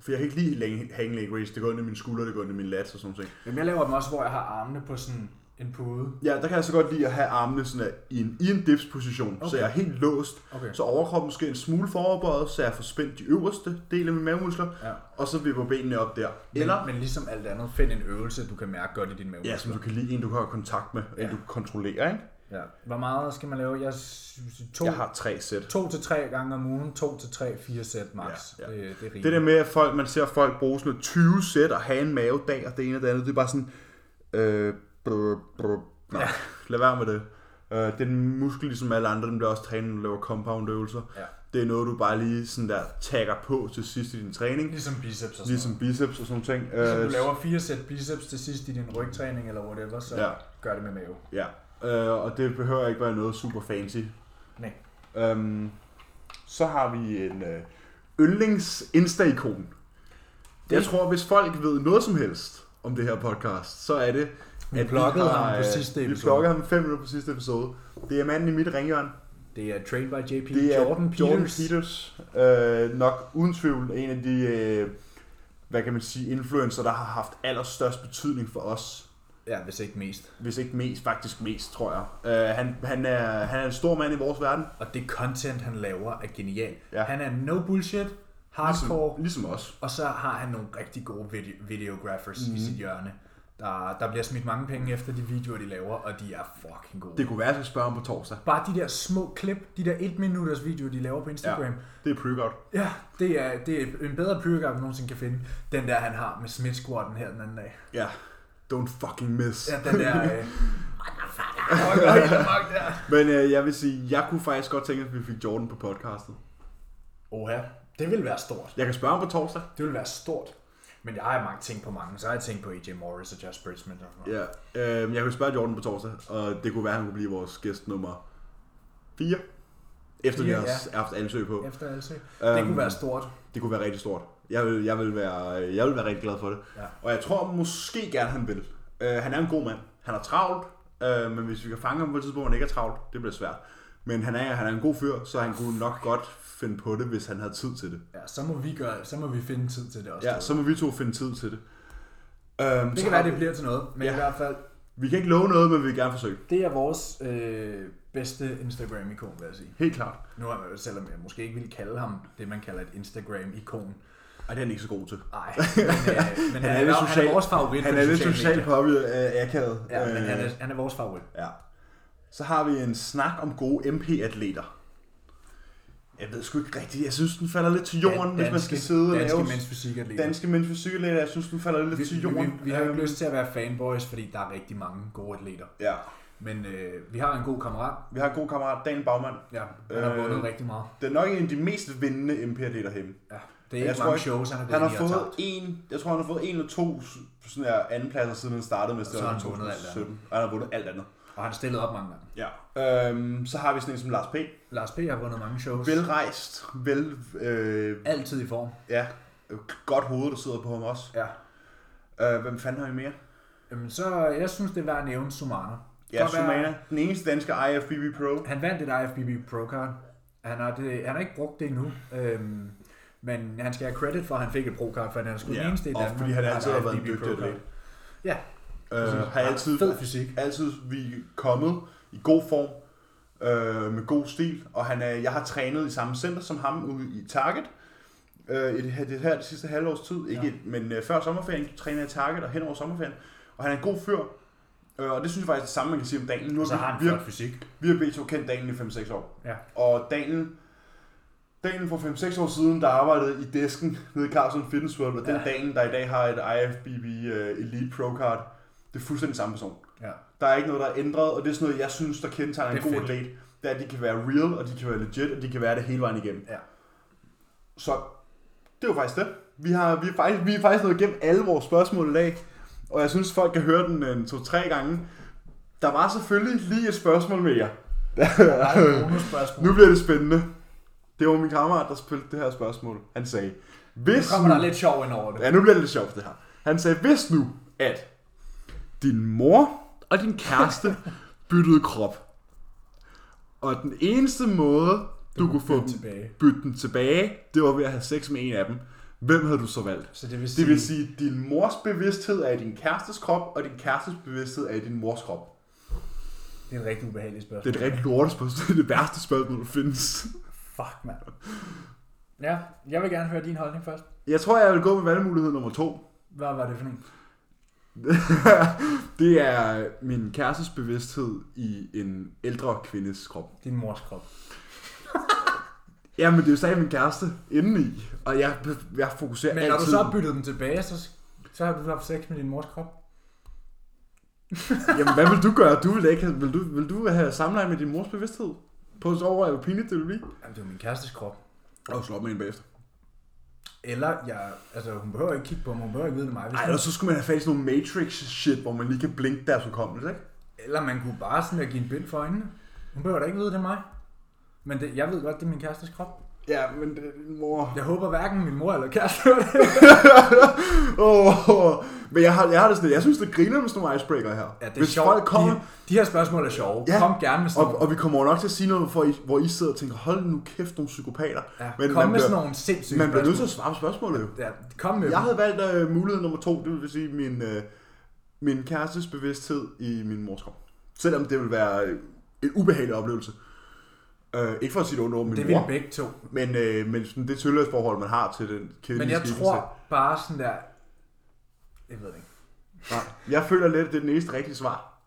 Speaker 1: for jeg kan ikke lige længe hang leg raise. Det går ind i mine skuldre, det går ind i min lats og sådan noget.
Speaker 2: Men jeg laver dem også, hvor jeg har armene på sådan en pude.
Speaker 1: Ja, der kan jeg så godt lide at have armene sådan der, i en, i en dips-position, okay. så
Speaker 2: Okay.
Speaker 1: jeg er helt låst.
Speaker 2: Okay.
Speaker 1: Så overkroppen måske en smule foroverbøjet, så jeg får spændt de øverste dele af mine mavemuskler,
Speaker 2: Ja.
Speaker 1: og så vipper benene op der. Eller,
Speaker 2: Men, men ligesom alt andet, find en øvelse, du kan mærke godt i din mave.
Speaker 1: ja, som du kan lide, en du kan have kontakt med, ja. en
Speaker 2: Ja.
Speaker 1: du kan kontrollere, ikke?
Speaker 2: ja. Hvor meget skal man lave? Jeg synes, to,
Speaker 1: Jeg har tre sæt.
Speaker 2: to til tre gange om ugen, to til tre, fire sæt max.
Speaker 1: Ja, ja.
Speaker 2: Det, det er rimeligt.
Speaker 1: Det der med, at folk, man ser folk bruge sådan noget 20 sæt og have en mavedag og det ene og det andet, det er bare sådan... Øh, brr, brr, nej, ja. lad være med det. Øh, den muskel, ligesom alle andre, den bliver også trænet, når du laver compound-øvelser.
Speaker 2: Ja.
Speaker 1: Det er noget, du bare lige sådan der tagger på til sidst i din træning.
Speaker 2: Ligesom biceps og sådan
Speaker 1: Ligesom biceps og sådan nogle ting.
Speaker 2: noget. Så
Speaker 1: Øh,
Speaker 2: Ligesom du laver fire sæt biceps til sidst i din rygtræning eller whatever, så
Speaker 1: Ja.
Speaker 2: ja. gør det med mave.
Speaker 1: Ja, øh, og det behøver ikke være noget super fancy.
Speaker 2: Nej.
Speaker 1: Øhm, så har vi en øh, yndlings Insta-ikon. Jeg tror, hvis folk ved noget som helst om det her podcast, så er det,
Speaker 2: Vi pluggede
Speaker 1: har,
Speaker 2: ham på
Speaker 1: øh,
Speaker 2: sidste
Speaker 1: Vi
Speaker 2: episode.
Speaker 1: plukkede ham fem minutter på sidste episode. Det er manden i mit ringhjørn.
Speaker 2: Det er Trained by JP
Speaker 1: Det er
Speaker 2: Jordan Peters.
Speaker 1: Jordan Peters. Øh, nok uden tvivl en af de, øh, hvad kan man sige, influencer, der har haft allerstørst betydning for os
Speaker 2: Ja, hvis ikke mest.
Speaker 1: hvis ikke mest, faktisk mest, tror jeg. Øh, han, han, er, han er en stor mand i vores verden.
Speaker 2: Og det content, han laver, er genialt.
Speaker 1: Ja.
Speaker 2: Ja. Han er no bullshit, hardcore,
Speaker 1: Ligesom, ligesom os.
Speaker 2: og så har han nogle rigtig gode vide- videographers
Speaker 1: Mhm.
Speaker 2: mm. i sit hjørne. Der, der bliver smidt mange penge efter de videoer, de laver, og de er fucking gode.
Speaker 1: Det
Speaker 2: Det.
Speaker 1: kunne være, at jeg spørge om på torsdag.
Speaker 2: Bare de der små klip, de der 1 minutters videoer, de laver på Instagram. Ja.
Speaker 1: det er pretty godt.
Speaker 2: Ja, det er, det er en bedre pyrkab, man nogensinde kan finde. Den der, han har med Smith Squatten her den anden dag.
Speaker 1: Ja. Don't fucking miss.
Speaker 2: Ja, den der... Øh, motherfucker, hvor går helt amok der.
Speaker 1: Men øh, jeg vil sige, jeg kunne faktisk godt tænke, mig, at vi fik Jordan på podcastet.
Speaker 2: Oha, det vil være stort.
Speaker 1: Jeg kan spørge ham på torsdag.
Speaker 2: Det ville være stort. Men jeg har mange ting på mange. Så har jeg tænkt på AJ Morris og Josh Bridgman. Og sådan noget.
Speaker 1: Ja. Øh, jeg kunne spørge Jordan på torsdag, og det kunne være, at han kunne blive vores gæst nummer 4. Efter vi
Speaker 2: Fire,
Speaker 1: har s- haft ansøg på.
Speaker 2: Efter altså. Det
Speaker 1: Øhm,
Speaker 2: kunne være stort.
Speaker 1: Det kunne være rigtig stort. Jeg vil, jeg vil, være, jeg vil være rigtig glad for det.
Speaker 2: Ja.
Speaker 1: Og jeg tror måske gerne, han vil. Uh, han er en god mand. Han er travlt, uh, men hvis vi kan fange ham på et tidspunkt, hvor han ikke er travlt, det bliver svært. Men han er, han er en god fyr, så han kunne nok godt finde på det, hvis han havde tid til det.
Speaker 2: Ja, så må vi gøre, så må vi finde tid til det også.
Speaker 1: Ja, så må vi to finde tid til det. Uh,
Speaker 2: det kan være, det bliver til noget. Men
Speaker 1: Ja.
Speaker 2: ja. i hvert fald,
Speaker 1: Vi kan ikke love noget, men vi vil gerne forsøge.
Speaker 2: det er vores øh, bedste Instagram-ikon, vil jeg sige.
Speaker 1: Helt klart.
Speaker 2: Nu er jeg, selvom jeg måske ikke vil kalde ham det, man kalder et Instagram-ikon,
Speaker 1: Og det er han ikke så god til.
Speaker 2: Nej, men, øh, men han, er,
Speaker 1: lidt
Speaker 2: han, er vores favorit
Speaker 1: Han
Speaker 2: på
Speaker 1: er
Speaker 2: de
Speaker 1: lidt Øh.
Speaker 2: sociale
Speaker 1: socialt
Speaker 2: medier.
Speaker 1: påvirket af akavet.
Speaker 2: Ja, men han er, han er vores favorit.
Speaker 1: Ja. Så har vi en snak om gode MP-atleter. Jeg ved sgu ikke rigtigt. Jeg synes, den falder lidt til jorden, danske, hvis man skal sidde og
Speaker 2: danske
Speaker 1: lave...
Speaker 2: mænds fysik er lige.
Speaker 1: Danske mænds fysikatleter, jeg synes, den falder lidt
Speaker 2: vi,
Speaker 1: til
Speaker 2: vi,
Speaker 1: jorden.
Speaker 2: vi, vi har jo
Speaker 1: Øhm,
Speaker 2: ikke lyst til at være fanboys, fordi der er rigtig mange gode atleter.
Speaker 1: Ja.
Speaker 2: Men øh, vi har en god kammerat.
Speaker 1: Vi har en god kammerat, Dan Bagmand.
Speaker 2: Ja, han har
Speaker 1: Øh,
Speaker 2: vundet rigtig meget.
Speaker 1: Det er nok en af de mest vindende MP-atleter hjemme.
Speaker 2: Ja, det er ikke
Speaker 1: jeg tror
Speaker 2: mange
Speaker 1: ikke-
Speaker 2: shows, han har
Speaker 1: Han
Speaker 2: gået
Speaker 1: har
Speaker 2: i og
Speaker 1: fået
Speaker 2: tabt.
Speaker 1: en, jeg tror han har fået en eller to sådan her andenpladser, siden han startede med
Speaker 2: så har han
Speaker 1: Stjernerne
Speaker 2: vundet alt andet.
Speaker 1: 2017. Og han har vundet alt andet.
Speaker 2: Og han har stillet op mange gange.
Speaker 1: Ja. Øhm, så har vi sådan en som Lars P.
Speaker 2: Lars P. har vundet mange shows.
Speaker 1: Velrejst, vel, øh,
Speaker 2: Altid i form.
Speaker 1: ja, godt hoved, der sidder på ham også.
Speaker 2: Ja.
Speaker 1: Øh, hvem fanden har I mere?
Speaker 2: Jamen, Øhm, så jeg synes, det er værd at nævne Sumana.
Speaker 1: Ja, Sumana. Den eneste danske ejer af BB Pro.
Speaker 2: Han vandt et IFBB Pro Card. Han har, det, han har ikke brugt det endnu. Øhm, men han skal have credit for, at han fik et Pro Card, for han er sgu den eneste i
Speaker 1: og
Speaker 2: Danmark.
Speaker 1: fordi han
Speaker 2: der
Speaker 1: altid
Speaker 2: et
Speaker 1: har været en
Speaker 2: IFBB
Speaker 1: dygtig
Speaker 2: Pro Card.
Speaker 1: atlet.
Speaker 2: Ja,
Speaker 1: Øh, har altid,
Speaker 2: fed fysik.
Speaker 1: altid vi er kommet i god form, øh, med god stil, og han er, jeg har trænet i samme center som ham ude i Target, øh, i det her, det her det sidste halvårs tid, ikke,
Speaker 2: Ja.
Speaker 1: ja. men øh, før sommerferien trænede jeg i Target og hen over sommerferien, og han er en god fyr, øh, og det synes jeg faktisk er det samme, man kan sige om Daniel. Nu
Speaker 2: Og så har
Speaker 1: har
Speaker 2: han
Speaker 1: vi, vi,
Speaker 2: flot fysik.
Speaker 1: vi har begge to kendt Daniel i 5-6 år,
Speaker 2: Ja.
Speaker 1: og Daniel, Daniel for 5-6 år siden, der arbejdede i desken nede i Carlson Fitness World, og den
Speaker 2: Ja.
Speaker 1: Daniel, der i dag har et IFBB øh, Elite Pro Card, det er fuldstændig samme person.
Speaker 2: ja.
Speaker 1: Der er ikke noget, der er ændret, og det er sådan noget, jeg synes, der kendetegner en
Speaker 2: Det er
Speaker 1: god
Speaker 2: fedt.
Speaker 1: atlet. Det er, at de kan være real, og de kan være legit, og de kan være det hele vejen igennem.
Speaker 2: Ja.
Speaker 1: Så det er jo faktisk det. Vi har, vi er faktisk, vi er faktisk nået igennem alle vores spørgsmål i dag, og jeg synes, folk kan høre den en, to-tre gange. Der var selvfølgelig lige et spørgsmål mere.
Speaker 2: Der er et bonusspørgsmål.
Speaker 1: Nu bliver det spændende. Det var min kammerat, der spillede det her spørgsmål. Han sagde,
Speaker 2: Nu
Speaker 1: hvis
Speaker 2: kommer der lidt sjov ind over det.
Speaker 1: Ja, nu bliver det lidt sjovt, det her. Han sagde, hvis nu, at din mor og din kæreste byttede krop, og den eneste måde, du kunne få dem-
Speaker 2: bytte tilbage.
Speaker 1: bytte den tilbage, det var ved at have sex med en af dem. Hvem havde du så valgt?
Speaker 2: Så det vil sige,
Speaker 1: Det vil sige, at din mors bevidsthed er i din kærestes krop, og din kærestes bevidsthed er i din mors krop.
Speaker 2: det er et rigtig ubehageligt spørgsmål.
Speaker 1: Det er et rigtig lortet spørgsmål. Det er det værste spørgsmål, der findes.
Speaker 2: Fuck, mand. Ja, jeg vil gerne høre din holdning først.
Speaker 1: Jeg tror, jeg vil gå med valgmulighed nummer to.
Speaker 2: Hvad var det for en?
Speaker 1: det er min kærestes bevidsthed i en ældre kvindes krop.
Speaker 2: Din mors krop.
Speaker 1: Ja, men det er jo stadig min kæreste indeni, og jeg, jeg fokuserer
Speaker 2: Men
Speaker 1: altid...
Speaker 2: når du så har byttet dem tilbage, så, så har du haft sex med din mors krop.
Speaker 1: Jamen, hvad vil du gøre? Du vil, ikke have, vil, du, vil du have samleje med din mors bevidsthed? På at overveje, hvor pinligt det vil blive.
Speaker 2: Jamen, det er jo min kærestes krop.
Speaker 1: Og slå op med en bagefter.
Speaker 2: Eller, jeg, altså, hun behøver ikke kigge på mig, hun behøver ikke vide det mig. Hvis
Speaker 1: Ej,
Speaker 2: hun,
Speaker 1: og så skulle man have fat i sådan nogle Matrix-shit, hvor man lige kan blinke deres hukommelse, ikke?
Speaker 2: eller man kunne bare sådan at give en bind for øjnene. Hun behøver da ikke vide det mig. Men det, jeg ved godt, det er min kærestes krop.
Speaker 1: Ja, men det, mor...
Speaker 2: Jeg håber hverken min mor eller kæreste hører det.
Speaker 1: Åh, oh, men jeg har, jeg har det sådan, jeg synes, det griner med sådan nogle icebreaker her.
Speaker 2: Ja, det er
Speaker 1: Hvis
Speaker 2: sjovt.
Speaker 1: folk kommer,
Speaker 2: De, de, her spørgsmål er sjove.
Speaker 1: Ja.
Speaker 2: Ja. Kom gerne med sådan
Speaker 1: og,
Speaker 2: nogle.
Speaker 1: og, vi kommer jo nok til at sige noget, for I, hvor I sidder og tænker, hold nu kæft, nogle psykopater.
Speaker 2: Ja,
Speaker 1: men
Speaker 2: kom
Speaker 1: man
Speaker 2: med
Speaker 1: bliver,
Speaker 2: sådan nogle sindssyge
Speaker 1: man bliver nødt
Speaker 2: spørgsmål.
Speaker 1: til at svare på spørgsmålet, jo.
Speaker 2: Ja, kom med
Speaker 1: Jeg
Speaker 2: dem.
Speaker 1: havde valgt øh, mulighed nummer to, det vil sige min, øh, min kærestes bevidsthed i min mors krop. Selvom det ville være øh, en ubehagelig oplevelse. Øh, ikke for at sige det ondt over min
Speaker 2: Det
Speaker 1: det
Speaker 2: vil
Speaker 1: mor,
Speaker 2: begge to.
Speaker 1: men, øh, men sådan det tilhørsforhold, man har til den kedelige
Speaker 2: Men jeg
Speaker 1: skikkelse.
Speaker 2: tror bare sådan der... Jeg ved det ikke.
Speaker 1: Nej, jeg føler lidt, at det er den eneste rigtige svar.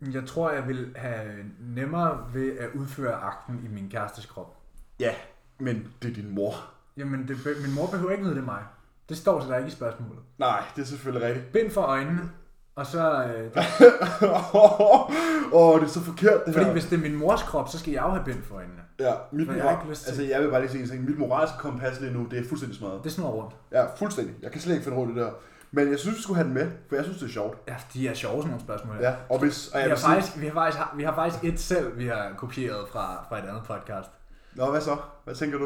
Speaker 2: Men Jeg tror, jeg vil have nemmere ved at udføre akten i min kærestes krop.
Speaker 1: Ja, men det er din mor.
Speaker 2: Jamen, det, be- min mor behøver ikke vide det er mig. Det står så der ikke i spørgsmålet.
Speaker 1: Nej, det er selvfølgelig rigtigt.
Speaker 2: Bind for øjnene, og så... Øh,
Speaker 1: Åh, oh, det er så forkert det
Speaker 2: fordi
Speaker 1: her.
Speaker 2: hvis det er min mors krop, så skal jeg jo have bind for øjnene.
Speaker 1: Ja, mit
Speaker 2: For
Speaker 1: mor,
Speaker 2: jeg har ikke lyst til-
Speaker 1: altså, jeg vil bare lige sige en ting. Mit moralske kompas lige nu, det er fuldstændig smadret.
Speaker 2: Det snor rundt.
Speaker 1: Ja, fuldstændig. Jeg kan slet ikke finde rundt i det der. Men jeg synes, vi skulle have den med, for jeg synes, det er sjovt.
Speaker 2: Ja, de er sjove sådan nogle spørgsmål. her.
Speaker 1: Ja, og hvis... Og jeg
Speaker 2: Vi
Speaker 1: vil
Speaker 2: har,
Speaker 1: sige,
Speaker 2: faktisk, vi, har faktisk, vi har faktisk et selv, vi har kopieret fra, fra et andet podcast.
Speaker 1: Nå, hvad så? Hvad tænker du?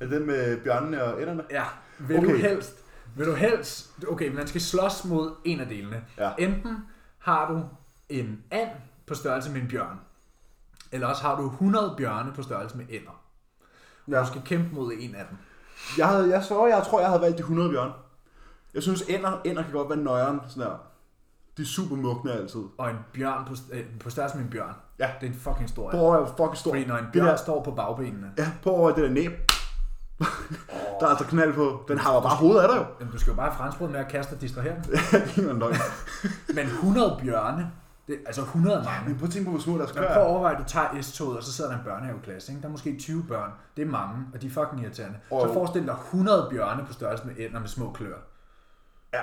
Speaker 1: Er det den med bjørnene og ænderne?
Speaker 2: Ja, vil okay. du
Speaker 1: Okay.
Speaker 2: helst... Vil du helst... Okay, man skal slås mod en af delene.
Speaker 1: Ja.
Speaker 2: Enten har du en and på størrelse med en bjørn, eller også har du 100 bjørne på størrelse med ænder.
Speaker 1: Ja.
Speaker 2: Du skal kæmpe mod en af dem.
Speaker 1: Jeg, havde, jeg, så, jeg tror, jeg havde valgt de 100 bjørne. Jeg synes, ænder, ænder kan godt være nøjeren. Sådan der. De er super mugne altid.
Speaker 2: Og en bjørn på, øh, på størrelse med en bjørn.
Speaker 1: Ja.
Speaker 2: Det er en fucking stor
Speaker 1: På
Speaker 2: Bro.
Speaker 1: over er jo fucking stor.
Speaker 2: Fordi når en
Speaker 1: Det
Speaker 2: bjørn
Speaker 1: der,
Speaker 2: står på bagbenene,
Speaker 1: ja, på over er det der næb. Der er altså knald på. Den har bare hovedet af dig jo.
Speaker 2: Jamen, du skal jo bare franskbrød med at kaste og distrahere dem.
Speaker 1: Det er en løgn.
Speaker 2: Men 100 bjørne, det, altså 100 er mange.
Speaker 1: Men prøv at tænke på, hvor små deres
Speaker 2: Men
Speaker 1: klør
Speaker 2: prøv at
Speaker 1: er.
Speaker 2: overveje, at du tager S-toget, og så sidder der en børnehaveklasse. Ikke? Der er måske 20 børn. Det er mange, og de er fucking irriterende.
Speaker 1: Og-
Speaker 2: Så forestil dig 100 bjørne på størrelse med ænder med små klør.
Speaker 1: Ja.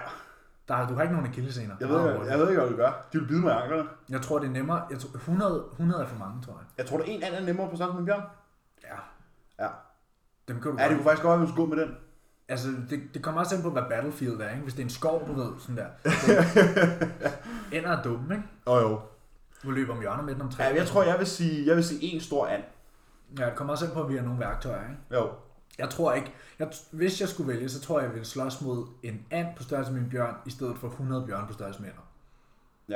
Speaker 2: Der, er- du har ikke nogen akillesener.
Speaker 1: Jeg ved,
Speaker 2: Meget
Speaker 1: ikke,
Speaker 2: hurtigt.
Speaker 1: jeg ved ikke, hvad du gør. De vil bide mig i anklerne.
Speaker 2: jeg tror, det er nemmere. Jeg tror, 100, 100 er for mange, tror jeg.
Speaker 1: Jeg tror, der er en anden er nemmere på størrelse med en bjørn.
Speaker 2: Ja.
Speaker 1: Ja.
Speaker 2: Dem kan du
Speaker 1: Ja, det
Speaker 2: godt-
Speaker 1: kunne faktisk godt være, at vi skulle gå med den.
Speaker 2: Altså, det, det kommer også an på, hvad Battlefield er, ikke? Hvis det er en skov, du ved, sådan der. Ender er dumme, ikke?
Speaker 1: Åh oh, jo.
Speaker 2: Du løber om hjørnet med den om tre.
Speaker 1: Ja, jeg tror, jeg vil sige, jeg vil sige en stor and.
Speaker 2: Ja, det kommer også an på, at vi har nogle værktøjer, ikke?
Speaker 1: Jo.
Speaker 2: Jeg tror ikke... Jeg, hvis jeg skulle vælge, så tror jeg, jeg ville slås mod en and på størrelse med en bjørn, i stedet for 100 bjørn på størrelse med ænder.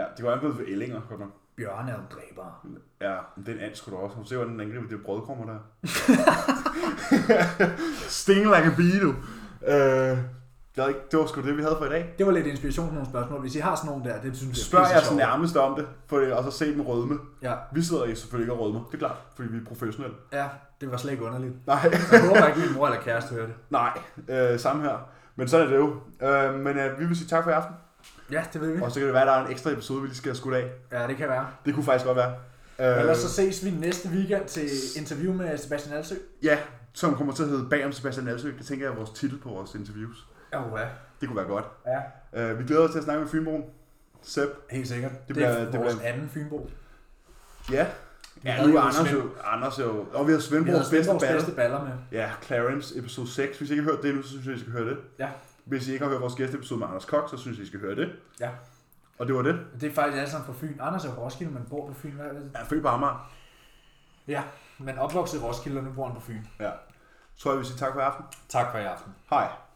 Speaker 1: Ja, det går an på for ællinger, godt nok.
Speaker 2: Bjørne er jo dræbere.
Speaker 1: Ja, men den and skulle du også. Har du set, hvordan den angriber det brødkrummer der? Sting like a bee, du. Øh, jeg ved ikke, det var sgu det, vi havde for i dag.
Speaker 2: Det var lidt inspiration til nogle spørgsmål. Hvis I har sådan nogle der, det synes jeg er
Speaker 1: Spørg
Speaker 2: pisse
Speaker 1: jeres
Speaker 2: sjovt.
Speaker 1: nærmeste om det, for, og så se dem rødme.
Speaker 2: Ja,
Speaker 1: Vi sidder jo selvfølgelig ikke og rødmer, det er klart, fordi vi er professionelle.
Speaker 2: ja, det var slet ikke underligt.
Speaker 1: Nej,
Speaker 2: Jeg håber ikke, min mor eller kæreste hører det.
Speaker 1: nej, øh, samme her. Men sådan er det jo. Øh, men øh, vi vil sige tak for i aften.
Speaker 2: Ja, det ved vi.
Speaker 1: Og så kan det være, at der er en ekstra episode, vi lige skal have skudt af.
Speaker 2: Ja, det kan være.
Speaker 1: Det kunne faktisk godt være. Øh,
Speaker 2: Ellers så ses vi næste weekend til interview med Sebastian Alsø.
Speaker 1: Ja, som kommer til at hedde Bagom Sebastian Alsø. Det tænker jeg er vores titel på vores interviews.
Speaker 2: Ja, ja.
Speaker 1: Det kunne være godt.
Speaker 2: ja.
Speaker 1: Øh, vi glæder os til at snakke med Fynbroen. Sepp.
Speaker 2: Helt sikkert. Det,
Speaker 1: bliver-
Speaker 2: det er
Speaker 1: det
Speaker 2: vores
Speaker 1: bliver-
Speaker 2: anden Fynbo.
Speaker 1: Ja.
Speaker 2: Vi
Speaker 1: Ja,
Speaker 2: havde
Speaker 1: nu er
Speaker 2: jo
Speaker 1: Anders
Speaker 2: Svend-
Speaker 1: jo, Anders er jo... Og vi har
Speaker 2: Vi havde
Speaker 1: Svendborgs bedste
Speaker 2: Svendborgs
Speaker 1: battle.
Speaker 2: bedste baller med.
Speaker 1: Ja, Clarence episode 6. Hvis I ikke har hørt det nu, så synes jeg, I skal høre det.
Speaker 2: Ja.
Speaker 1: Hvis I ikke har hørt vores gæsteepisode med Anders Kok, så synes jeg, I skal høre det.
Speaker 2: Ja.
Speaker 1: Og det var det.
Speaker 2: Det er faktisk alle sammen fra Fyn. Anders er Roskilde, men bor på Fyn. Hvad er det?
Speaker 1: Jeg er født på Amager.
Speaker 2: Ja, men opvokset i Roskilde, og nu bor han på Fyn.
Speaker 1: Ja. Så tror jeg, vi siger tak for i aften.
Speaker 2: Tak for i aften.
Speaker 1: Hej.